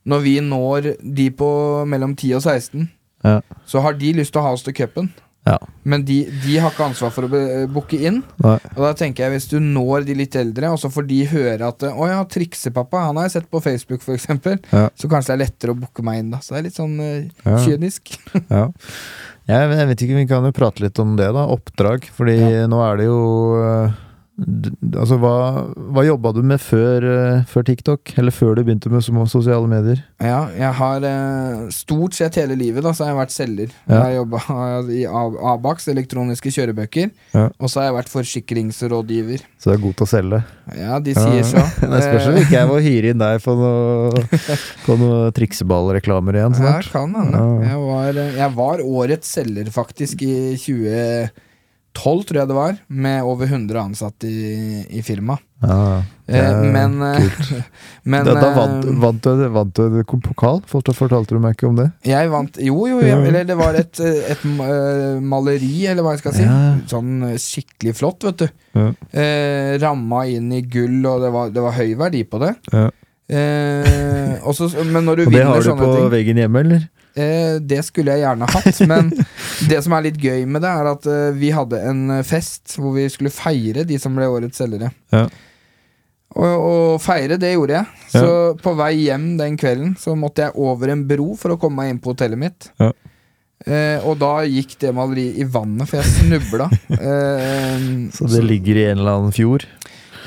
B: når vi når de på mellom 10 og 16,
A: Ja.
B: så har de lyst til å ha oss til cupen.
A: Ja.
B: Men de, de har ikke ansvar for å be- booke inn.
A: Nei.
B: Og da tenker jeg Hvis du når de litt eldre, og så får de høre at 'Å ja, triksepappa, han har jeg sett på Facebook', f.eks.,
A: Ja.
B: så kanskje det er lettere å booke meg inn. da Så det er litt sånn eh,
A: Ja.
B: kynisk.
A: Ja. Jeg, jeg vet ikke, vi kan jo prate litt om det, da. Oppdrag. Fordi nå er det jo eh, d- Altså, hva, hva jobba du med før, eh, før TikTok? Eller før du begynte med små sosiale medier?
B: Ja, jeg har eh, stort sett hele livet da, så har jeg vært selger. Jeg
A: Ja.
B: har jobba i A- Abax, elektroniske kjørebøker,
A: Ja.
B: og så har jeg vært forsikringsrådgiver.
A: Så du er god til å selge.
B: Ja, de
A: Ja,
B: sier
A: ja.
B: så. Eh,
A: Det spørs om ikke jeg må hyre inn deg på noe, på noe trikseballreklamer igjen
B: Eh, ja,
A: snart.
B: kan hende.
A: Ja.
B: Jeg, var, eh, jeg var årets selger, faktisk, i 2012, tror jeg det var, med over 100 ansatte i, i firmaet.
A: Ja,
B: Eh,
A: Ja,
B: men eh, men
A: da, da vant,
B: eh,
A: vant, du, vant du kom- pokal? Fort- Fortalte du meg ikke om det?
B: Jeg vant Jo, jo, jeg,
A: Ja.
B: eller det var et, eh, et ma- eh, maleri, eller hva jeg skal si.
A: Ja.
B: Sånn eh, skikkelig flott, vet du.
A: Ja.
B: Eh, ramma inn i gull, og det var, det var høy verdi på det.
A: Ja.
B: Eh, og så- men når du
A: Og det
B: vinner
A: har du på
B: sånne ting
A: veggen hjemme, eller?
B: eh, Det skulle jeg gjerne hatt, men det som er litt gøy med det, er at eh, vi hadde en eh, fest hvor vi skulle feire de som ble årets selgere.
A: Ja.
B: Og, og feire, det gjorde jeg. Så på vei hjem den kvelden så måtte jeg over en bro for å komme meg inn på hotellet mitt.
A: Ja.
B: Eh, og da gikk det maleriet i vannet, for jeg snubla. eh,
A: Så det ligger i en eller annen fjord?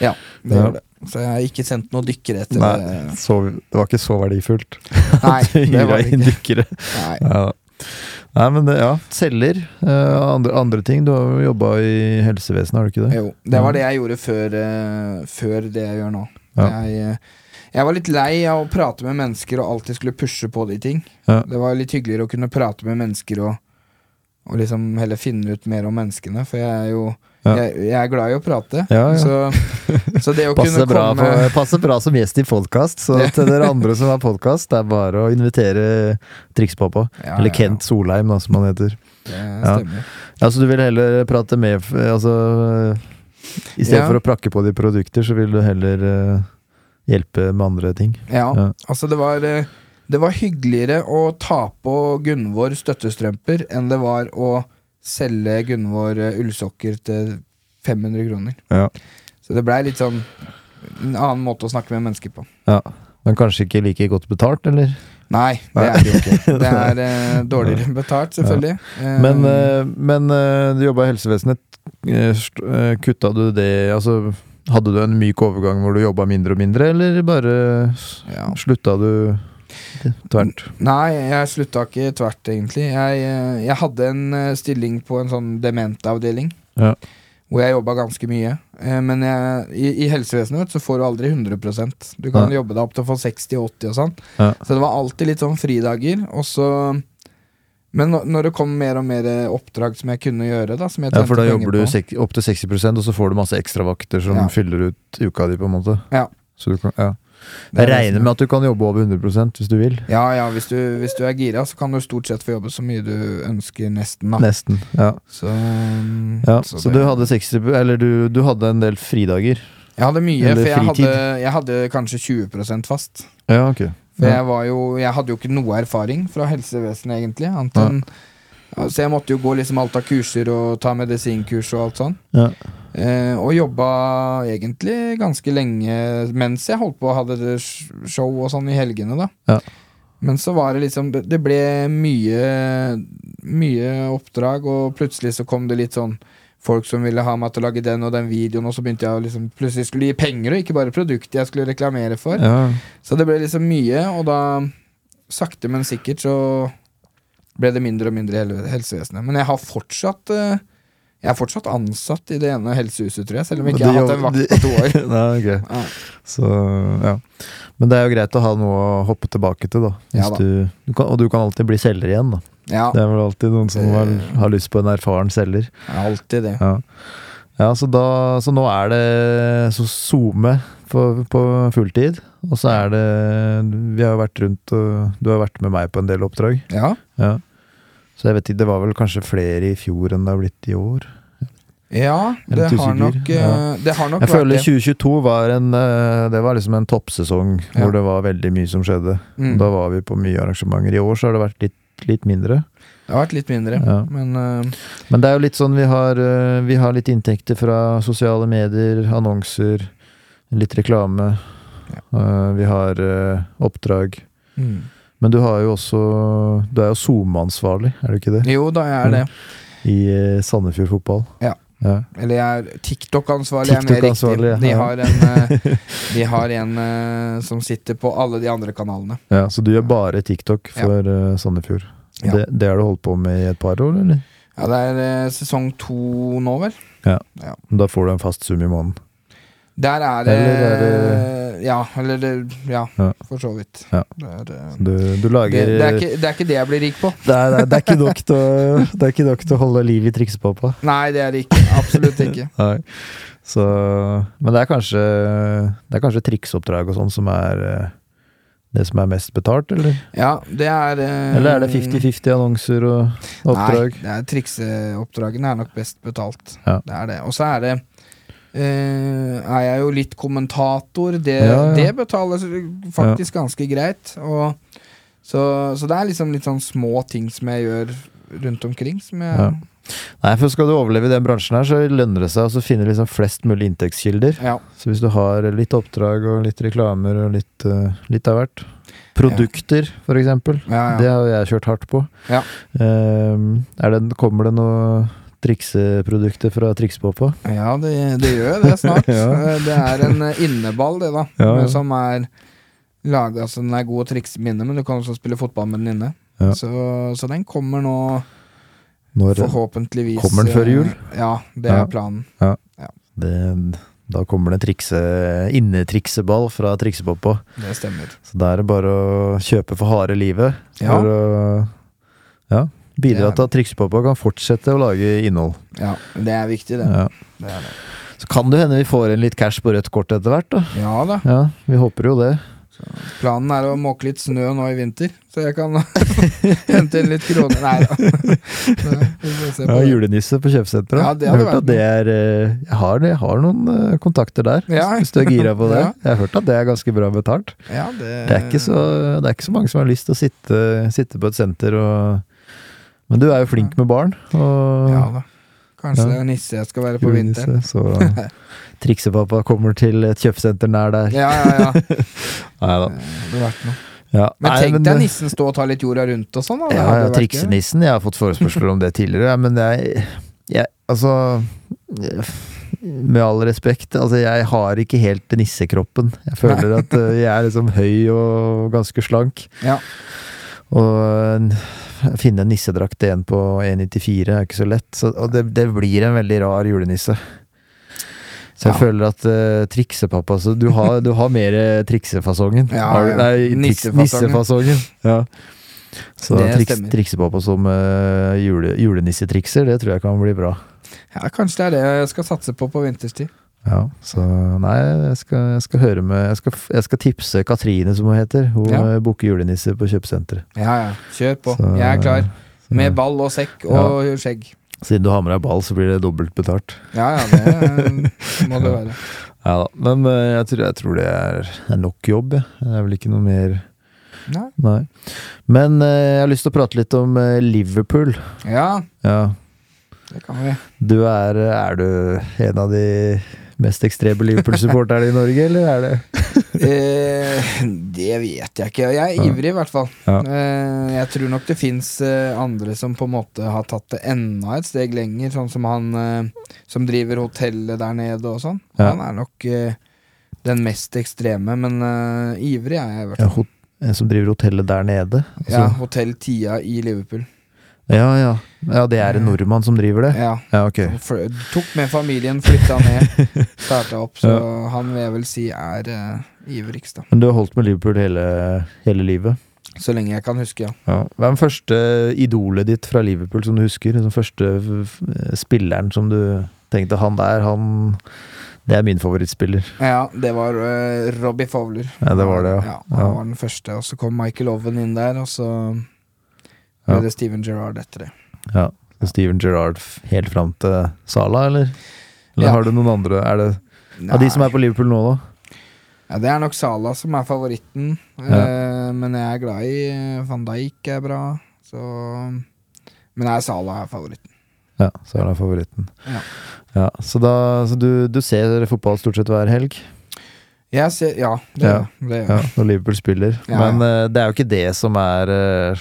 B: det
A: Ja.
B: gjør det. Så jeg har ikke sendt noen dykkere etter
A: Nei,
B: det.
A: så, det var ikke så verdifullt.
B: Nei, det var det
A: inn
B: ikke.
A: dykkere.
B: Nei.
A: Ja. Nei, men det, ja. Celler. eh, andre, andre ting. Du har jo jobba i helsevesenet, har du ikke det?
B: Jo, det var det jeg gjorde før, eh, før det jeg gjør nå.
A: Ja.
B: Jeg, eh, jeg var litt lei av å prate med mennesker og alltid skulle pushe på de ting.
A: Ja.
B: Det var litt hyggeligere å kunne prate med mennesker og, og liksom heller finne ut mer om menneskene, for jeg er jo
A: Ja.
B: jeg, jeg er glad i å prate.
A: Ja, ja.
B: Så, så det å
A: Passer
B: kunne
A: bra,
B: komme
A: på- passer bra som gjest i podkast, så til dere andre som har podkast, det er bare å invitere Trikspappa.
B: Ja,
A: Eller
B: ja,
A: Kent Solheim, da, som han heter.
B: Ja, det
A: Ja.
B: stemmer.
A: Ja, så du vil heller prate med Altså I stedet
B: Ja.
A: for å prakke på de produkter, så vil du heller eh, hjelpe med andre ting.
B: Ja,
A: Ja.
B: altså det var eh, Det var hyggeligere å ta på Gunvor støttestrømper enn det var å selge Gunvor eh, ullsokker til 500 kroner.
A: Ja.
B: Så det blei litt sånn en annen måte å snakke med mennesker på.
A: Men kanskje ikke like godt betalt, eller?
B: Nei, det er det jo ikke. Det er eh, dårligere betalt, selvfølgelig. Eh,
A: Men, eh, men eh, du jobba i helsevesenet. Eh, st- eh, Kutta du det Altså, hadde du en myk overgang hvor du jobba mindre og mindre, eller bare s-
B: ja.
A: slutta du tvert?
B: Nei, jeg slutta ikke tvert, egentlig. Jeg, eh, jeg hadde en eh, stilling på en sånn dementavdeling.
A: Ja.
B: Hvor jeg jobba ganske mye. Eh, Men jeg, i, i helsevesenet vet, du, så får du aldri 100 Du kan
A: Nei.
B: jobbe deg opp til å få 60-80 og sånn.
A: Ja.
B: Så det var alltid litt sånn fridager. Og så Men nå- når det kom mer og mer eh, oppdrag som jeg kunne gjøre, da som jeg
A: Ja, for da
B: tjente penger
A: jobber du
B: på.
A: sek- opp til 60 og så får du masse ekstravakter som
B: Ja.
A: fyller ut uka di, på en måte.
B: Ja.
A: Så du kan, ja.
B: Det er
A: Jeg
B: det
A: regner
B: som-
A: med at du kan jobbe over 100 hvis du vil.
B: Ja, ja, hvis du, hvis du er gira, så kan du stort sett få jobbe så mye du ønsker, nesten. da
A: Nesten. Ja.
B: Så, eh,
A: Ja, så
B: det-
A: du hadde 60 pro- Eller du, du hadde en del fridager.
B: Jeg hadde mye,
A: Eller
B: for jeg
A: fritid.
B: hadde, jeg hadde kanskje 20 fast.
A: Ja, ok.
B: For
A: Ja.
B: jeg, var jo, jeg hadde jo ikke noe erfaring fra helsevesenet, egentlig. Annet enn, ja, så jeg måtte jo gå liksom alt av kurser og ta medisinkurs og alt sånn.
A: Ja.
B: Eh, og jobba egentlig ganske lenge mens jeg holdt på og hadde det sh- show og sånn i helgene, da.
A: Ja.
B: Men så var det liksom Det det ble mye, mye oppdrag, og plutselig så kom det litt sånn folk som ville ha meg til å lage den og den videoen, og så begynte jeg å liksom plutselig skulle gi penger, og ikke bare produktet jeg skulle reklamere for.
A: Ja.
B: Så det ble liksom mye, og da sakte, men sikkert så ble det mindre og mindre i hele helsevesenet. Men jeg har fortsatt eh, Jeg er fortsatt ansatt i det ene helsehuset, tror jeg, selv om jeg ikke
A: Du
B: har hatt en
A: jobb-
B: vakt på to år.
A: Nei, ok.
B: Ja.
A: Så, ja. Men det er jo greit å ha noe å hoppe tilbake til, da. Hvis
B: Ja da.
A: Du, du kan, og du kan alltid bli selger igjen, da.
B: Ja,
A: Det er vel alltid noen som har, har lyst på en erfaren selger.
B: alltid det.
A: Ja, ja så, da, så nå er det så SoMe på, på fulltid. Og så er det Vi har jo vært rundt og Du har vært med meg på en del oppdrag.
B: Ja.
A: Ja. Så jeg vet ikke, det var vel kanskje flere i fjor enn det har blitt i år.
B: ja
A: Jeg er
B: det,
A: litt
B: har
A: usikker.
B: nok, eh,
A: Ja.
B: det har nok
A: Jeg føler
B: vært det.
A: 2022 var en eh, Det var liksom en toppsesong
B: Ja.
A: hvor det var veldig mye som skjedde.
B: Mm.
A: Da var vi på mye arrangementer. I år så har det vært litt, litt mindre.
B: Det har vært litt mindre,
A: Ja.
B: men eh,
A: Men det er jo litt sånn vi har, eh, vi har litt inntekter fra sosiale medier, annonser, litt reklame. Eh, Vi har eh, oppdrag.
B: mm.
A: Men du har jo også Du er jo SoMe-ansvarlig, er du ikke det?
B: Jo da, jeg er det.
A: I eh, Sandefjord fotball.
B: Ja.
A: ja.
B: Eller jeg er TikTok-ansvarlig, er mer
A: Mm. TikTok-ansvarlig, ja.
B: riktig. De har en, eh, de har en eh, som sitter på alle de andre kanalene.
A: Ja, så du gjør bare TikTok for eh, Sandefjord.
B: Ja.
A: Det, det har du holdt på med i et par år, eller?
B: Ja, det er eh, sesong to nå, vel?
A: Da får du en fast sum i måneden.
B: Der er det
A: Eller er
B: Ja, eller det Ja,
A: Ja.
B: for så vidt.
A: Ja.
B: Det, er, eh,
A: Du, du lager eh,
B: det, det, er ikke, det er ikke det jeg blir rik på.
A: det, er, det, er, det er ikke nok til å- det er ikke nok til å holde liv i triksepappa.
B: Nei, det er det ikke. Absolutt ikke.
A: Nei. Så, men det er kanskje Det er kanskje trikseoppdrag og sånn som er eh, det som er mest betalt, eller?
B: Ja, det er eh,
A: Eller er det 50-50 annonser og oppdrag?
B: Nei, det er trikseoppdragene er nok best betalt.
A: Ja.
B: Det er det. Og så er det eh, er jeg jo litt kommentator. Det,
A: Ja, ja.
B: det betales faktisk ganske greit. Og, så, så det er liksom litt sånn små ting som jeg gjør rundt omkring, som jeg
A: Ja. Nei. for skal du overleve i den bransjen her, så lønner det seg å så finne liksom flest mulig inntektskilder.
B: Ja.
A: Så hvis du har litt oppdrag og litt reklamer og litt, eh, litt av hvert Produkter, for eksempel.
B: Ja, ja.
A: Det har jo jeg kjørt hardt på.
B: Ja.
A: Ehm, er det, kommer det noe trikseprodukter fra Trikspoppa?
B: Ja, det, det gjør jo det snart.
A: Ja.
B: Eh, Det er en eh, inneball, det, da.
A: Ja, ja.
B: Som er laga så den er god å trikse med inne, men du kan også spille fotball med den inne.
A: Ja.
B: Så, så den kommer nå,
A: Når
B: forhåpentligvis.
A: Kommer den før
B: eh,
A: jul?
B: Ja, det
A: Ja.
B: er planen.
A: Det, da kommer det en trikse, innetrikseball fra triksepoppa.
B: Det stemmer.
A: Så da er det bare å kjøpe for harde livet.
B: Ja.
A: For å ja, bidra
B: Det er-
A: til at triksepoppa kan fortsette å lage innhold.
B: Ja, det er viktig, det.
A: Ja.
B: Det er det.
A: Så kan det hende vi får inn litt cash på rødt kort etter hvert, da.
B: Ja da.
A: Ja, vi håper jo det.
B: Planen er å måke litt snø nå i vinter, så jeg kan hente inn litt kroner. Nei da. Ja, vi får se
A: Ja,
B: på det.
A: julenisse på kjøpesenteret.
B: Ja, det
A: jeg har
B: hadde
A: hørt
B: vært
A: at det er eh, jeg har, jeg har noen eh, kontakter der,
B: Ja.
A: hvis du er gira på det.
B: Ja.
A: Jeg har hørt at det er ganske bra betalt.
B: Ja, det,
A: Det er ikke så, det er ikke så mange som har lyst til å sitte, sitte på et senter og Men du er jo flink med barn. Og
B: Ja da. Kanskje
A: Ja.
B: det er nisse jeg skal være på
A: julenisse,
B: vinteren.
A: så triksepappa kommer til et kjøpesenter nær der.
B: Ja, ja, ja. Det
A: Nei da.
B: hadde vært noe.
A: Ja.
B: Men
A: Nei,
B: tenk
A: men,
B: deg
A: eh,
B: nissen stå og ta litt jorda rundt og sånn. da. Det
A: Ja,
B: hadde
A: ja
B: vært gøy.
A: triksenissen. Jeg har fått forespørsler om det tidligere, men jeg, jeg Altså jeg- Med all respekt, altså jeg har ikke helt nissekroppen. Jeg føler at eh, jeg er liksom høy og ganske slank.
B: Ja.
A: Og en- finne en nissedrakt til en på 1,94 er ikke så lett. Så, og det, det blir en veldig rar julenisse. Så jeg
B: Ja.
A: føler at eh, triksepappa så du, har, du har mer eh, triksefasongen.
B: Ja,
A: Har du-
B: ja.
A: Nei, triks,
B: Nissefasongen.
A: nissefasongen. Ja. Så
B: Det
A: triks,
B: stemmer.
A: triksepappa som eh, jule, julenissetrikser, det tror jeg kan bli bra.
B: Ja, kanskje det er det jeg skal satse på på vinterstid.
A: Ja, så nei, jeg skal, jeg skal høre med jeg skal, f- jeg skal tipse Katrine, som hun heter. Hun
B: Ja.
A: eh, booker julenisse på kjøpesenteret.
B: Ja, ja. Kjør på.
A: Så-
B: Jeg er klar.
A: så-
B: Med ball og sekk og skjegg.
A: Siden du har med deg ball, så blir det dobbelt betalt.
B: Ja, ja, det må det være.
A: Ja da, men eh, jeg tror, jeg tror det er, det er nok jobb, jeg. Det er vel ikke noe mer
B: Nei.
A: Nei. Men eh, jeg har lyst til å prate litt om eh, Liverpool.
B: Ja,
A: Ja.
B: det kan vi.
A: Du er, eh, er du en av de mest ekstreme Liverpool-supporterne i Norge, eller er det
B: Eh, det vet jeg ikke. Jeg er
A: Ja.
B: ivrig, i hvert fall.
A: Ja.
B: Eh, jeg tror nok det fins eh, andre som på en måte har tatt det enda et steg lenger, sånn som han eh, som driver hotellet der nede og sånn.
A: Ja.
B: Han er nok eh, den mest ekstreme, men eh, ivrig er jeg i hvert
A: ja,
B: fall.
A: hot, en som driver hotellet der nede? Altså,
B: Ja, Hotell Tia i Liverpool.
A: ja, ja. Ja, det er en nordmann som driver det?
B: Ja.
A: Eh. Ja, ok.
B: Fl- Tok med familien, flytta ned, starta opp, så han vil jeg vel si er eh, ivrigst, da.
A: Men du har holdt med Liverpool hele, hele livet?
B: Så lenge jeg kan huske, ja.
A: Ja. Hva er den første idolet ditt fra Liverpool som du husker? Den første f- f- spilleren som du tenkte han der, han Det er min favorittspiller.
B: Ja, det var eh, Robbie Fowler.
A: Ja, det var det, ja.
B: han
A: Ja.
B: var den første, og så kom Michael Owen inn der, og så ble
A: Ja.
B: det Steven Gerrard etter det.
A: Ja. Steven Gerrard f- helt fram til Sala, eller? Eller
B: Ja.
A: har du noen andre? Er det Av de som
B: Nei.
A: er på Liverpool nå, da?
B: ja, det er nok Salah som er favoritten, eh, men jeg er glad i eh, Van Dijk er bra, så Men jeg er Salah er favoritten.
A: Ja, Sala er favoritten.
B: Ja.
A: Ja, så da, så du, du ser fotball stort sett hver helg
B: Jeg ser, ja, det,
A: Ja.
B: det
A: ja, når Liverpool spiller.
B: Ja.
A: Men eh, det er jo ikke det som er eh,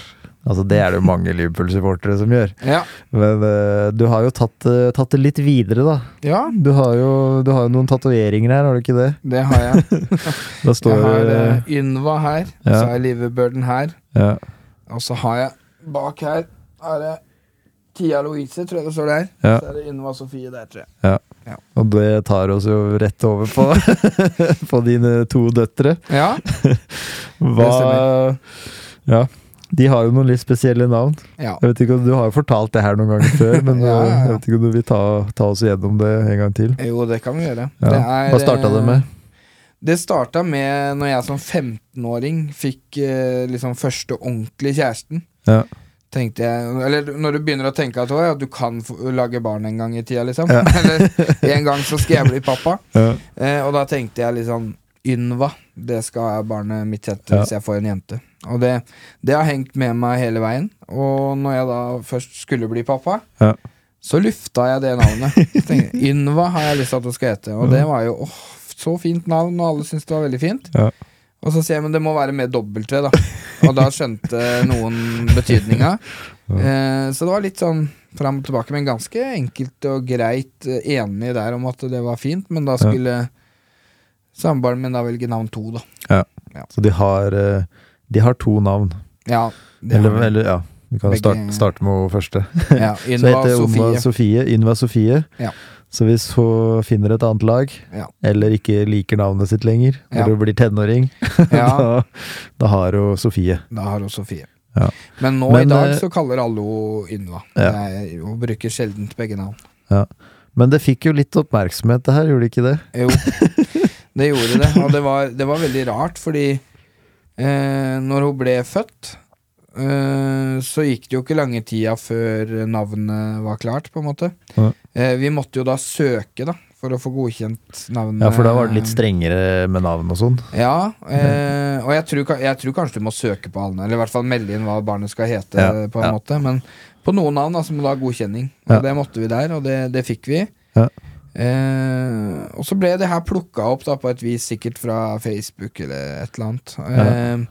A: Altså, det er det jo mange Liverpool-supportere som gjør.
B: ja.
A: Men eh, du har jo tatt, eh, tatt det litt videre, da.
B: ja,
A: Du har jo, du har jo noen tatoveringer her, har du ikke det?
B: det har jeg.
A: Da står
B: jeg har
A: eh,
B: eh, Ynva her,
A: ja.
B: så har jeg Liverburden her,
A: ja.
B: og så har jeg bak her er det Tia Louise, tror jeg det står der.
A: Ja.
B: Så er det Ynva Sofie der, tror jeg.
A: Og det tar oss jo rett over på, på dine to døtre.
B: Ja,
A: Hva Ja. De har jo noen litt spesielle navn.
B: ja.
A: Jeg vet ikke om Du har jo fortalt det her noen ganger før, men
B: Ja, ja, ja.
A: eh, jeg vet ikke om du vil ta, ta oss gjennom det en gang til.
B: Jo, det kan vi gjøre.
A: Ja.
B: Det er, eh,
A: Hva starta det med?
B: Det starta med når jeg som 15-åring fikk eh, liksom første ordentlige kjæresten.
A: Ja.
B: Tenkte jeg, eller når du begynner å tenke at, «Å, ja, du kan få, lage barn en gang i tida, liksom.
A: Ja.
B: eller en gang så skal jeg bli pappa.
A: Ja.
B: Eh, og da tenkte jeg liksom Ynva, det skal barnet mitt hete
A: Ja.
B: hvis jeg får en jente. Og det, det har hengt med meg hele veien. Og når jeg da først skulle bli pappa,
A: Ja.
B: så lufta jeg det navnet. Så tenkte jeg, Ynva har jeg lyst til at det skal hete. Og det var jo åh, så fint navn, og alle syntes det var veldig fint.
A: Ja.
B: Og så sier jeg men det må være med dobbelt V, da. Og da skjønte noen betydninga. Eh, så det var litt sånn fram og tilbake, men ganske enkelt og greit eh, enig der om at det var fint, men da skulle samboeren min da velge navn to, da.
A: Så de har, eh, de har to navn.
B: Ja, det
A: Eller,
B: har vi.
A: eller ja. Vi kan
B: Begge-
A: starte, starte med hun første.
B: ja,
A: Så
B: Ynva
A: heter Oma
B: Sofie.
A: Sofie Ynva Sofie.
B: Ja.
A: Så hvis hun finner et annet lag,
B: Ja.
A: eller ikke liker navnet sitt lenger,
B: Ja.
A: eller blir tenåring,
B: Ja,
A: da, da har hun Sofie.
B: da har hun Sofie.
A: Ja.
B: Men nå
A: Men,
B: i dag
A: eh,
B: så kaller alle henne Ynva.
A: Ja.
B: Det er- Hun bruker sjelden begge navn.
A: Men det fikk jo litt oppmerksomhet, det her, gjorde det ikke det?
B: Jo, det gjorde det. Og det var, det var veldig rart, fordi eh, Når hun ble født, eh, så gikk det jo ikke lange tida før navnet var klart, på en måte.
A: Ja.
B: Eh, vi måtte jo da søke, da, for å få godkjent navnet.
A: Ja, for da var det litt strengere med navn og sånn.
B: Ja, eh, og jeg tror, ka- jeg tror kanskje du må søke på alle, eller i hvert fall melde inn hva barnet skal hete.
A: Ja,
B: på en
A: ja.
B: måte Men på noen navn da, så må du ha godkjenning, og
A: Ja.
B: det måtte vi der, og det, det fikk vi.
A: Ja.
B: Eh, og så ble det her plukka opp da, på et vis, sikkert fra Facebook eller et eller annet. Eh,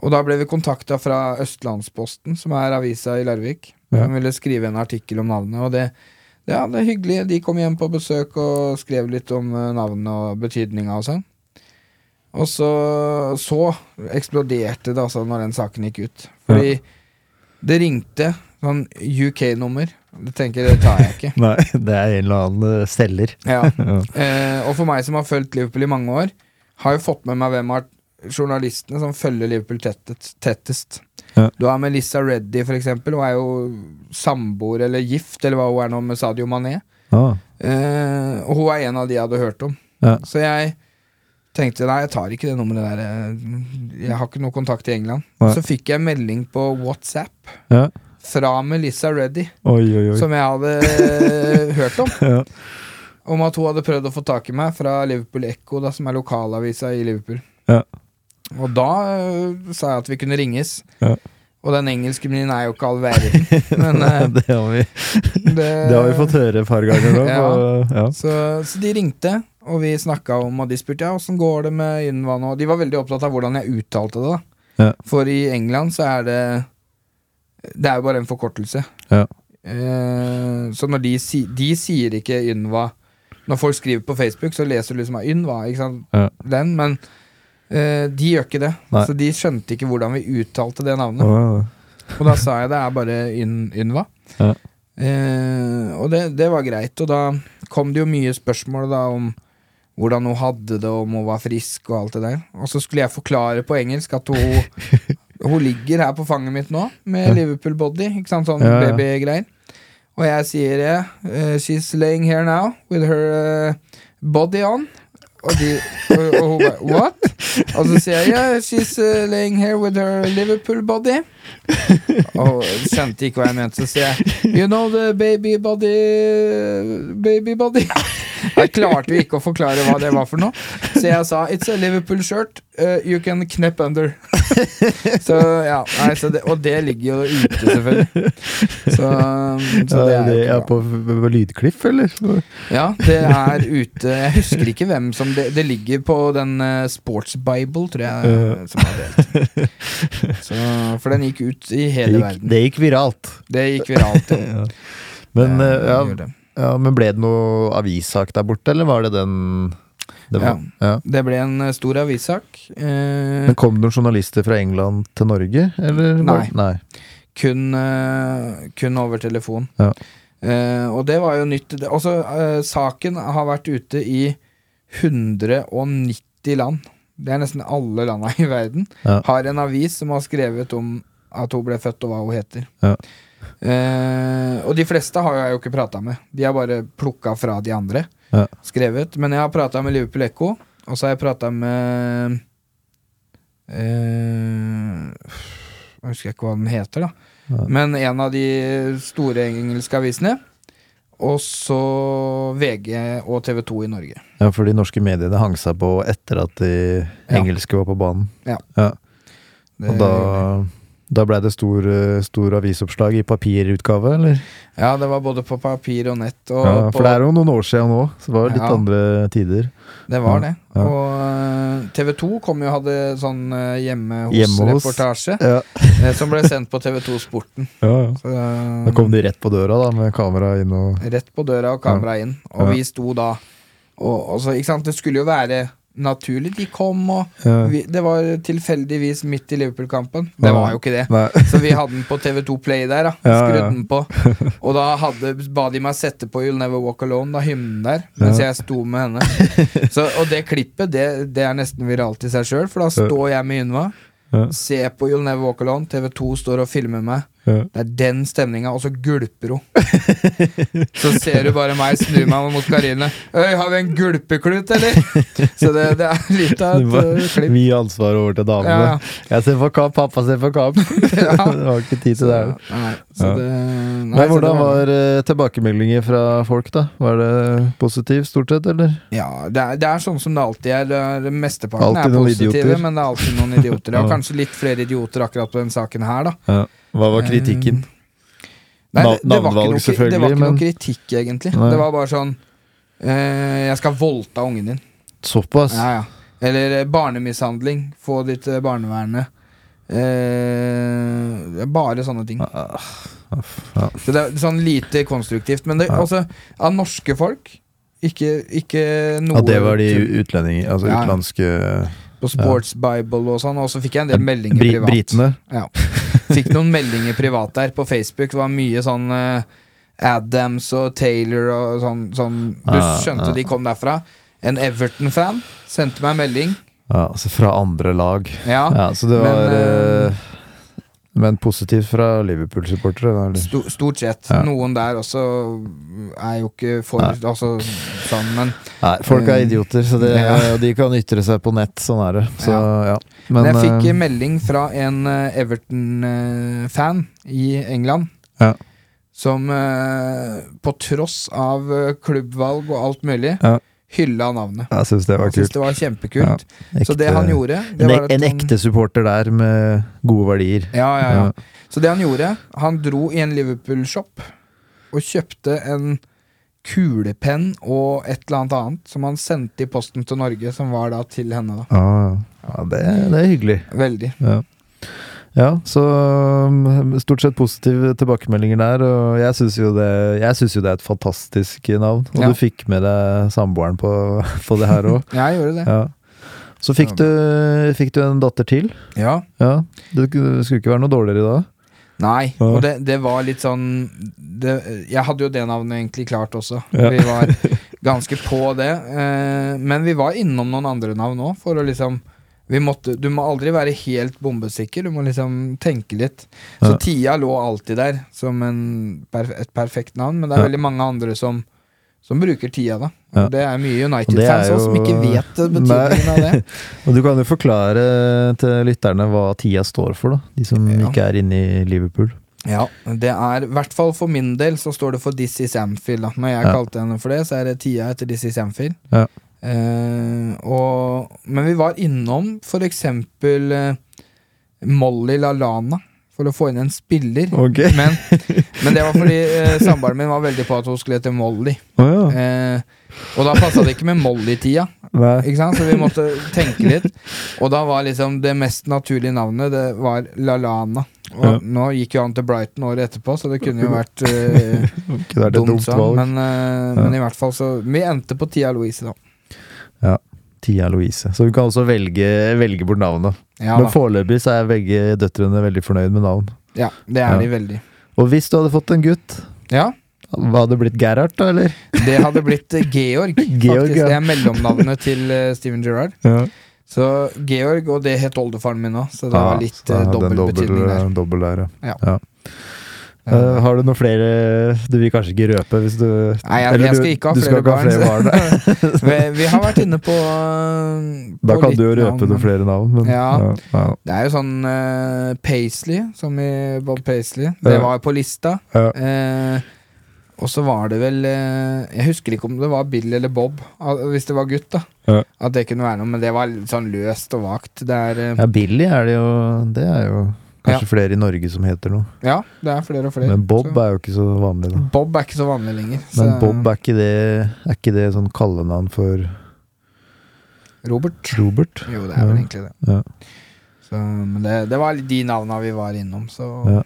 B: Og da ble vi kontakta fra Østlandsposten, som er avisa i Larvik.
A: Ja.
B: De ville skrive en artikkel om navnet, og det, ja, det er hyggelig. De kom hjem på besøk og skrev litt om eh, navnet og betydninga og sånn. Og så, så eksploderte det altså når den saken gikk ut. Fordi det ringte sånn UK-nummer. Det tenker jeg, det tar jeg ikke.
A: Nei, det er en eller annen eh, selger.
B: Ja.
A: Ja.
B: Eh, og for meg som har fulgt Liverpool i mange år, har jo fått med meg hvem av journalistene som følger Liverpool tettest. tettest.
A: Ja.
B: Du har Melissa Reddy, for eksempel. Hun er jo samboer eller gift, eller hva hun er nå, med Sadio Mané.
A: Ah,
B: Eh, og hun er en av de jeg hadde hørt om.
A: Ja.
B: Så jeg tenkte nei, jeg tar ikke det nummeret der. eh, Jeg har ikke noe kontakt i England.
A: Nei.
B: Så fikk jeg melding på WhatsApp
A: ja.
B: fra Melissa Reddy,
A: Oi, oi, oi.
B: som jeg hadde hørt om.
A: Ja.
B: Om at hun hadde prøvd å få tak i meg fra Liverpool Echo, da, som er lokalavisa i Liverpool.
A: Ja.
B: Og da eh, sa jeg at vi kunne ringes.
A: Ja.
B: Og den engelsken min er jo ikke all verden. Men eh,
A: det, har vi,
B: det,
A: det har vi fått høre et par ganger nå.
B: Ja.
A: og- ja.
B: Så, så de ringte, og vi snakka om, og de spurte ja, åssen går det med Ynva nå. De var veldig opptatt av hvordan jeg uttalte det, da.
A: Ja.
B: For i England så er det Det er jo bare en forkortelse.
A: Ja.
B: Eh, så når de, si, de sier ikke Ynva Når folk skriver på Facebook, så leser du liksom av Ynva, ikke sant.
A: Ja.
B: Den, men eh, de gjør ikke det.
A: Nei.
B: Så de skjønte ikke hvordan vi uttalte det navnet.
A: Åh,
B: Og da sa jeg det er bare inn- Ynva.
A: Ja.
B: Eh, og det, det var greit. Og da kom det jo mye spørsmål da om hvordan hun hadde det, om hun var frisk og alt det der. Og så skulle jeg forklare på engelsk at hun, hun ligger her på fanget mitt nå med
A: Ja.
B: Liverpool-body. Ikke sant, sånn
A: Ja, ja.
B: babygreier. Og jeg sier det. eh, she's laying here now with her eh, body on. Og, de, og, og hun bare What? Og så sier jeg yeah, she's eh, laying here with her Liverpool body. Og skjønte ikke hva jeg mente, så sier jeg You know the baby body Baby body. Jeg klarte jo ikke å forklare hva det var for noe, så jeg sa It's a Liverpool shirt. eh, you can knep under. så ja, nei, så det, Og det ligger jo ute, selvfølgelig. Så, um, så
A: Ja,
B: det er jo
A: det
B: ikke
A: er
B: bra.
A: på, på lydkliff, eller?
B: Ja, det er ute Jeg husker ikke hvem som Det, det ligger på den eh, Sports Bible, tror jeg.
A: Ja.
B: Som er delt. Så, for den gikk ut i
A: Det
B: hele
A: gikk,
B: verden.
A: det gikk viralt.
B: Det gikk viralt. ja.
A: Ja. Men,
B: Det
A: eh, ja,
B: gjorde det.
A: ja, men ble det noe avissak der borte, eller var det den det var, ja.
B: det ble en eh, stor avissak. Eh,
A: Men Kom det noen journalister fra England til Norge? Eller? var- Nei.
B: kun, eh, kun over telefon.
A: Ja.
B: Eh, og det var jo nytt. Det- Også, eh, saken har vært ute i 190 land. Det er nesten alle landa i verden.
A: Ja.
B: Har en avis som har skrevet om at hun ble født, og hva hun heter.
A: Ja.
B: Eh, og de fleste har jeg jo ikke prata med. De har bare plukka fra de andre.
A: Ja.
B: Skrevet. Men jeg har prata med Liverpool Echo, og så har jeg prata med eh, jeg husker ikke hva den heter, da.
A: Nei.
B: Men en av de store engelske avisene. Og så VG og TV2 i Norge.
A: Ja, for de norske mediene hang seg på etter at de
B: Ja.
A: engelske var på banen.
B: Det-
A: Og da, da blei det stor, eh, stor avisoppslag i papirutgave, eller?
B: Ja, det var både på papir og nett. Og
A: Ja,
B: på,
A: for det er jo noen år siden nå, så det var jo litt
B: Ja.
A: andre tider.
B: det var
A: Mm,
B: det.
A: Ja, ja.
B: Og eh, TV2 kom jo og hadde sånn eh, hjemme
A: Hjemme hos.
B: hos-reportasje
A: Ja.
B: eh, som ble sendt på TV2 Sporten.
A: Ja,
B: Så,
A: Da kom de rett på døra da, med kamera inn og
B: eh, Rett på døra og kamera inn. Og
A: Ja.
B: vi sto da og, og så, ikke sant? Det skulle jo være naturlig. De kom, og
A: ja.
B: vi, det var tilfeldigvis midt i Liverpool-kampen. Det var jo ikke det.
A: Nei.
B: Så vi hadde den på TV2 Play der, da.
A: Ja,
B: Skrudde
A: ja.
B: den på. Og da hadde, ba de meg sette på You'll Never Walk Alone, da hymnen der, mens
A: Ja.
B: jeg sto med henne. Så, og det klippet, det, det er nesten viralt i seg sjøl, for da står jeg med Ynva,
A: Ja.
B: ser på You'll Never Walk Alone, TV2 står og filmer meg,
A: Ja.
B: Det er den stemninga, og så gulper hun. så ser du bare meg snu meg mot Karine. Øy, har vi en gulpeklut, eller? Så det, det er litt av
A: Det
B: et
A: var-
B: eh, klipp.
A: Vi gir ansvaret over til damene.
B: Ja,
A: Jeg ser for kamp, pappa ser for kamp.
B: ja.
A: det var ikke tid til det. her.
B: Nei, så
A: Ja.
B: det, nei,
A: Men
B: så det
A: hvordan var eh, tilbakemeldinger fra folk, da? Var det positivt stort sett, eller?
B: Ja, det er, det er sånn som det alltid er. Det er- Mesteparten
A: Alltid
B: er
A: noen
B: positive,
A: idioter.
B: men det er alltid noen idioter. ja. Og
A: Ja.
B: kanskje litt flere idioter akkurat på den saken her, da.
A: Hva var kritikken? Na-
B: Eh, det- det var ikke
A: navnvalg
B: noe kri- Det var
A: selvfølgelig,
B: ikke
A: men-
B: noe kritikk, egentlig.
A: Nei.
B: Det var bare sånn eh, Jeg skal voldta ungen din.
A: Såpass?
B: Ja, ja. Eller eh, barnemishandling. Få ditt eh, barnevernet. Eh, det er bare sånne ting.
A: Ah, ja.
B: Så det er sånn lite konstruktivt. Men det,
A: Ja.
B: altså, av norske folk ikke, ikke noe
A: Ja, det var de utlendinger, altså
B: Ja.
A: utenlandske
B: på Sports Bible og sånn, og så fikk jeg en del meldinger
A: Bri
B: privat.
A: Britene.
B: Ja. Fikk noen meldinger privat der på Facebook. Det var mye sånn eh, Adams og Taylor og sånn, sånn. Du
A: Ah,
B: skjønte
A: ah.
B: de kom derfra. En Everton-fan sendte meg en melding.
A: Ja, altså fra andre lag.
B: Ja.
A: Ja, så det
B: men,
A: var
B: eh,
A: eh, Men positivt fra Liverpool-supportere, da? eller?
B: Sto, stort sett.
A: Ja.
B: Noen der også er jo ikke for
A: Nei.
B: altså, sånn, men
A: Nei, folk er idioter, så det,
B: Eh, Ja.
A: og de kan ytre seg på nett. Sånn er det. Så, ja. Men,
B: Men jeg fikk
A: eh,
B: en melding fra en eh, Everton-fan eh, i England.
A: Ja.
B: Som eh, på tross av eh, klubbvalg og alt mulig,
A: Ja.
B: hylla navnet.
A: jeg syns det var
B: Han syntes
A: kult.
B: det var kjempekult. Så det
A: Ekte-
B: han gjorde det
A: en,
B: var at
A: ek- en
B: han-
A: ekte supporter der med gode verdier.
B: ja, ja,
A: Ja.
B: ja. Så det han gjorde, han dro i en Liverpool-shop og kjøpte en kulepenn og et eller annet annet som han sendte i posten til Norge, som var da til henne, da.
A: Ah, ja, det, det er hyggelig.
B: Veldig.
A: Ja. ja, så um, stort sett positive tilbakemeldinger der. Og jeg syns jo, det- jeg synes jo det er et fantastisk navn. Og
B: Ja.
A: du fikk med deg samboeren på, på det her òg.
B: Jeg gjorde det.
A: Ja. Så fikk du, fikk du en datter til.
B: Ja.
A: Ja, Det skulle ikke være noe dårligere da.
B: Nei,
A: Ja.
B: og det, det var litt sånn det, Jeg hadde jo det navnet egentlig klart også.
A: Ja.
B: Vi var ganske på det. Eh, men vi var innom noen andre navn òg, for å liksom vi måtte, Du må aldri være helt bombesikker, du må liksom tenke litt. Så
A: Ja.
B: Tia lå alltid der som en, perf et perfekt navn, men det er
A: Ja.
B: veldig mange andre som, som bruker Tia, da.
A: Ja.
B: Og Det er mye
A: Og det er
B: United-fans òg som
A: jo-
B: ikke vet betydningen av det.
A: Og du kan jo forklare til lytterne hva tida står for, da. De som
B: Ja.
A: ikke er inne i Liverpool.
B: Ja, det er I hvert fall for min del så står det for This is Amfield. Da. Når jeg
A: Ja.
B: kalte henne for det, så er det tida etter This is Amfield.
A: Ja.
B: Eh, og, men vi var innom for eksempel eh, Molly LaLana for å få inn en spiller.
A: Ok.
B: Men, men det var fordi eh, samboeren min var veldig på at hun skulle hete Molly.
A: Å ja.
B: Eh, og da passa det ikke med Molly-tida.
A: Nei.
B: Ikke sant? Så vi måtte tenke litt. Og da var liksom det mest naturlige navnet Det var LaLana. Og
A: Ja.
B: nå gikk jo han til Brighton året etterpå, så det kunne jo vært eh,
A: Ikke vært et
B: dumt.
A: dumt
B: sånn.
A: valg.
B: Men, eh, men i hvert fall så Vi endte på Tia Louise, da.
A: Tia Louise. Så hun kan også velge, velge bort navnet.
B: Ja,
A: Men
B: da.
A: foreløpig så er begge døtrene veldig fornøyd med navn.
B: ja det er
A: Ja.
B: de veldig.
A: Og hvis du hadde fått en gutt,
B: Ja,
A: hva hadde det blitt Gerhard, da, eller?
B: det hadde blitt eh, Georg,
A: Georg,
B: faktisk.
A: ja.
B: Det er mellomnavnet til eh, Steven Gerrard.
A: Ja.
B: Så Georg, og det het oldefaren min òg, så det var litt
A: Ah, så
B: eh,
A: det er
B: dobbel
A: en
B: betydning der.
A: Dobbel der, ja.
B: Ja.
A: Eh, har du noen flere Du vil kanskje ikke røpe hvis du
B: Nei, jeg,
A: eller
B: jeg
A: du-
B: skal ikke ha
A: du
B: flere barn.
A: barn.
B: så- vi, vi har vært inne på, eh,
A: Da
B: på
A: kan du jo
B: litt navn,
A: røpe
B: men-
A: noen flere navn, men
B: Ja.
A: ja,
B: Det er jo sånn eh, Paisley, som i Bob Paisley. Det
A: Ja.
B: var på lista.
A: ja.
B: Eh, og så var det vel eh, Jeg husker ikke om det var Bill eller Bob, al- hvis det var gutt, da.
A: Ja.
B: At det kunne være noe, men det var litt sånn løst og vagt. Det er eh,
A: ja, Billy er det jo Det er jo kanskje flere i Norge som heter noe.
B: Ja, det er flere og flere.
A: Men Bob
B: så.
A: er jo ikke så vanlig, da.
B: Bob er ikke så vanlig lenger.
A: Men
B: så-
A: Bob er ikke det Er ikke det sånn kallenavn for
B: Robert.
A: Robert?
B: Jo, det er vel
A: Ja.
B: egentlig det.
A: Ja.
B: Så, men det, det var de navna vi var innom, så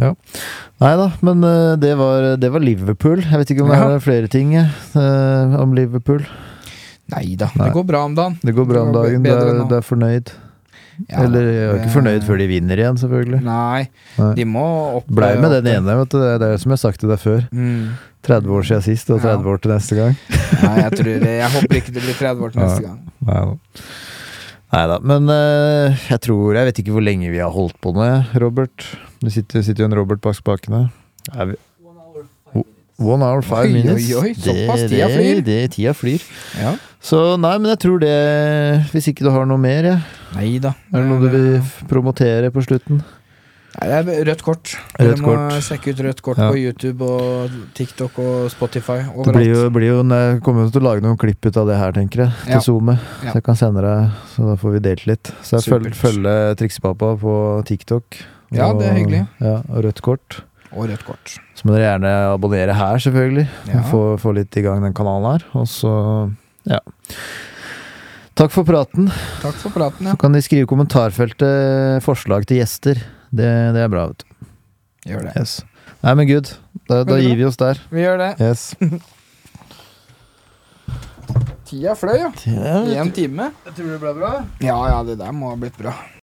A: Ja. Nei da, men eh, det var, det var Liverpool. Jeg vet ikke om det
B: Ja.
A: er flere ting eh, om Liverpool.
B: Nei da,
A: Nei.
B: det går bra om dagen.
A: Det går bra om
B: Det var
A: dagen. Du
B: bedre
A: er,
B: nå.
A: du er fornøyd.
B: Ja,
A: Eller jeg er jo
B: det-
A: ikke fornøyd før de vinner igjen, selvfølgelig.
B: Nei,
A: Nei.
B: de må opp
A: Blei med den ene, vet du. Det er- Det er som jeg har sagt til deg før.
B: Mm.
A: 30 år siden sist, og 30
B: Ja.
A: år til neste gang.
B: Nei, jeg tror det. Jeg håper ikke det blir 30 år til neste gang.
A: Nei da. Nei da. Men eh, jeg tror Jeg vet ikke hvor lenge vi har holdt på nå, jeg, Robert. Det sitter sitter jo en Robert bak spakene. Er vi One hour, five
B: Oi, oi,
A: minutes.
B: oi, såpass,
A: Det-
B: tida
A: det-
B: flyr.
A: Det, tida flyr.
B: Ja.
A: Så nei, men jeg tror det Hvis ikke du har noe mer, ja.
B: Nei da.
A: Er det noe du vil f- promotere på slutten?
B: Nei, det er rødt kort. Dere
A: Rødt
B: må
A: kort.
B: sjekke ut rødt kort
A: Ja.
B: på YouTube og TikTok og Spotify.
A: Det
B: Overalt.
A: blir jo, blir jo, jeg kommer jo til å lage noen klipp ut av det her, tenker jeg. Til
B: Ja.
A: SoMe.
B: Ja.
A: Så jeg kan sende deg, så da får vi delt litt. Så jeg følger,
B: Supert.
A: følger Triksepappa på TikTok.
B: Ja, det er hyggelig.
A: Ja, og rødt kort.
B: Og rødt kort.
A: Så må dere gjerne abonnere her, selvfølgelig.
B: Ja.
A: Få, få litt i gang den kanalen her. Og så ja. Takk for praten.
B: Takk for praten, ja.
A: Så kan de skrive i kommentarfeltet eh, forslag til gjester. Det, det er bra, vet du.
B: Gjør det.
A: Yes. Nei, men good. Da, da
B: Veldig bra.
A: gir vi oss der.
B: Vi gjør det.
A: Yes.
B: Tida fløy, ja.
A: Ja,
B: I en time.
A: Jeg tror det ble bra.
B: Ja ja, det der må ha blitt bra.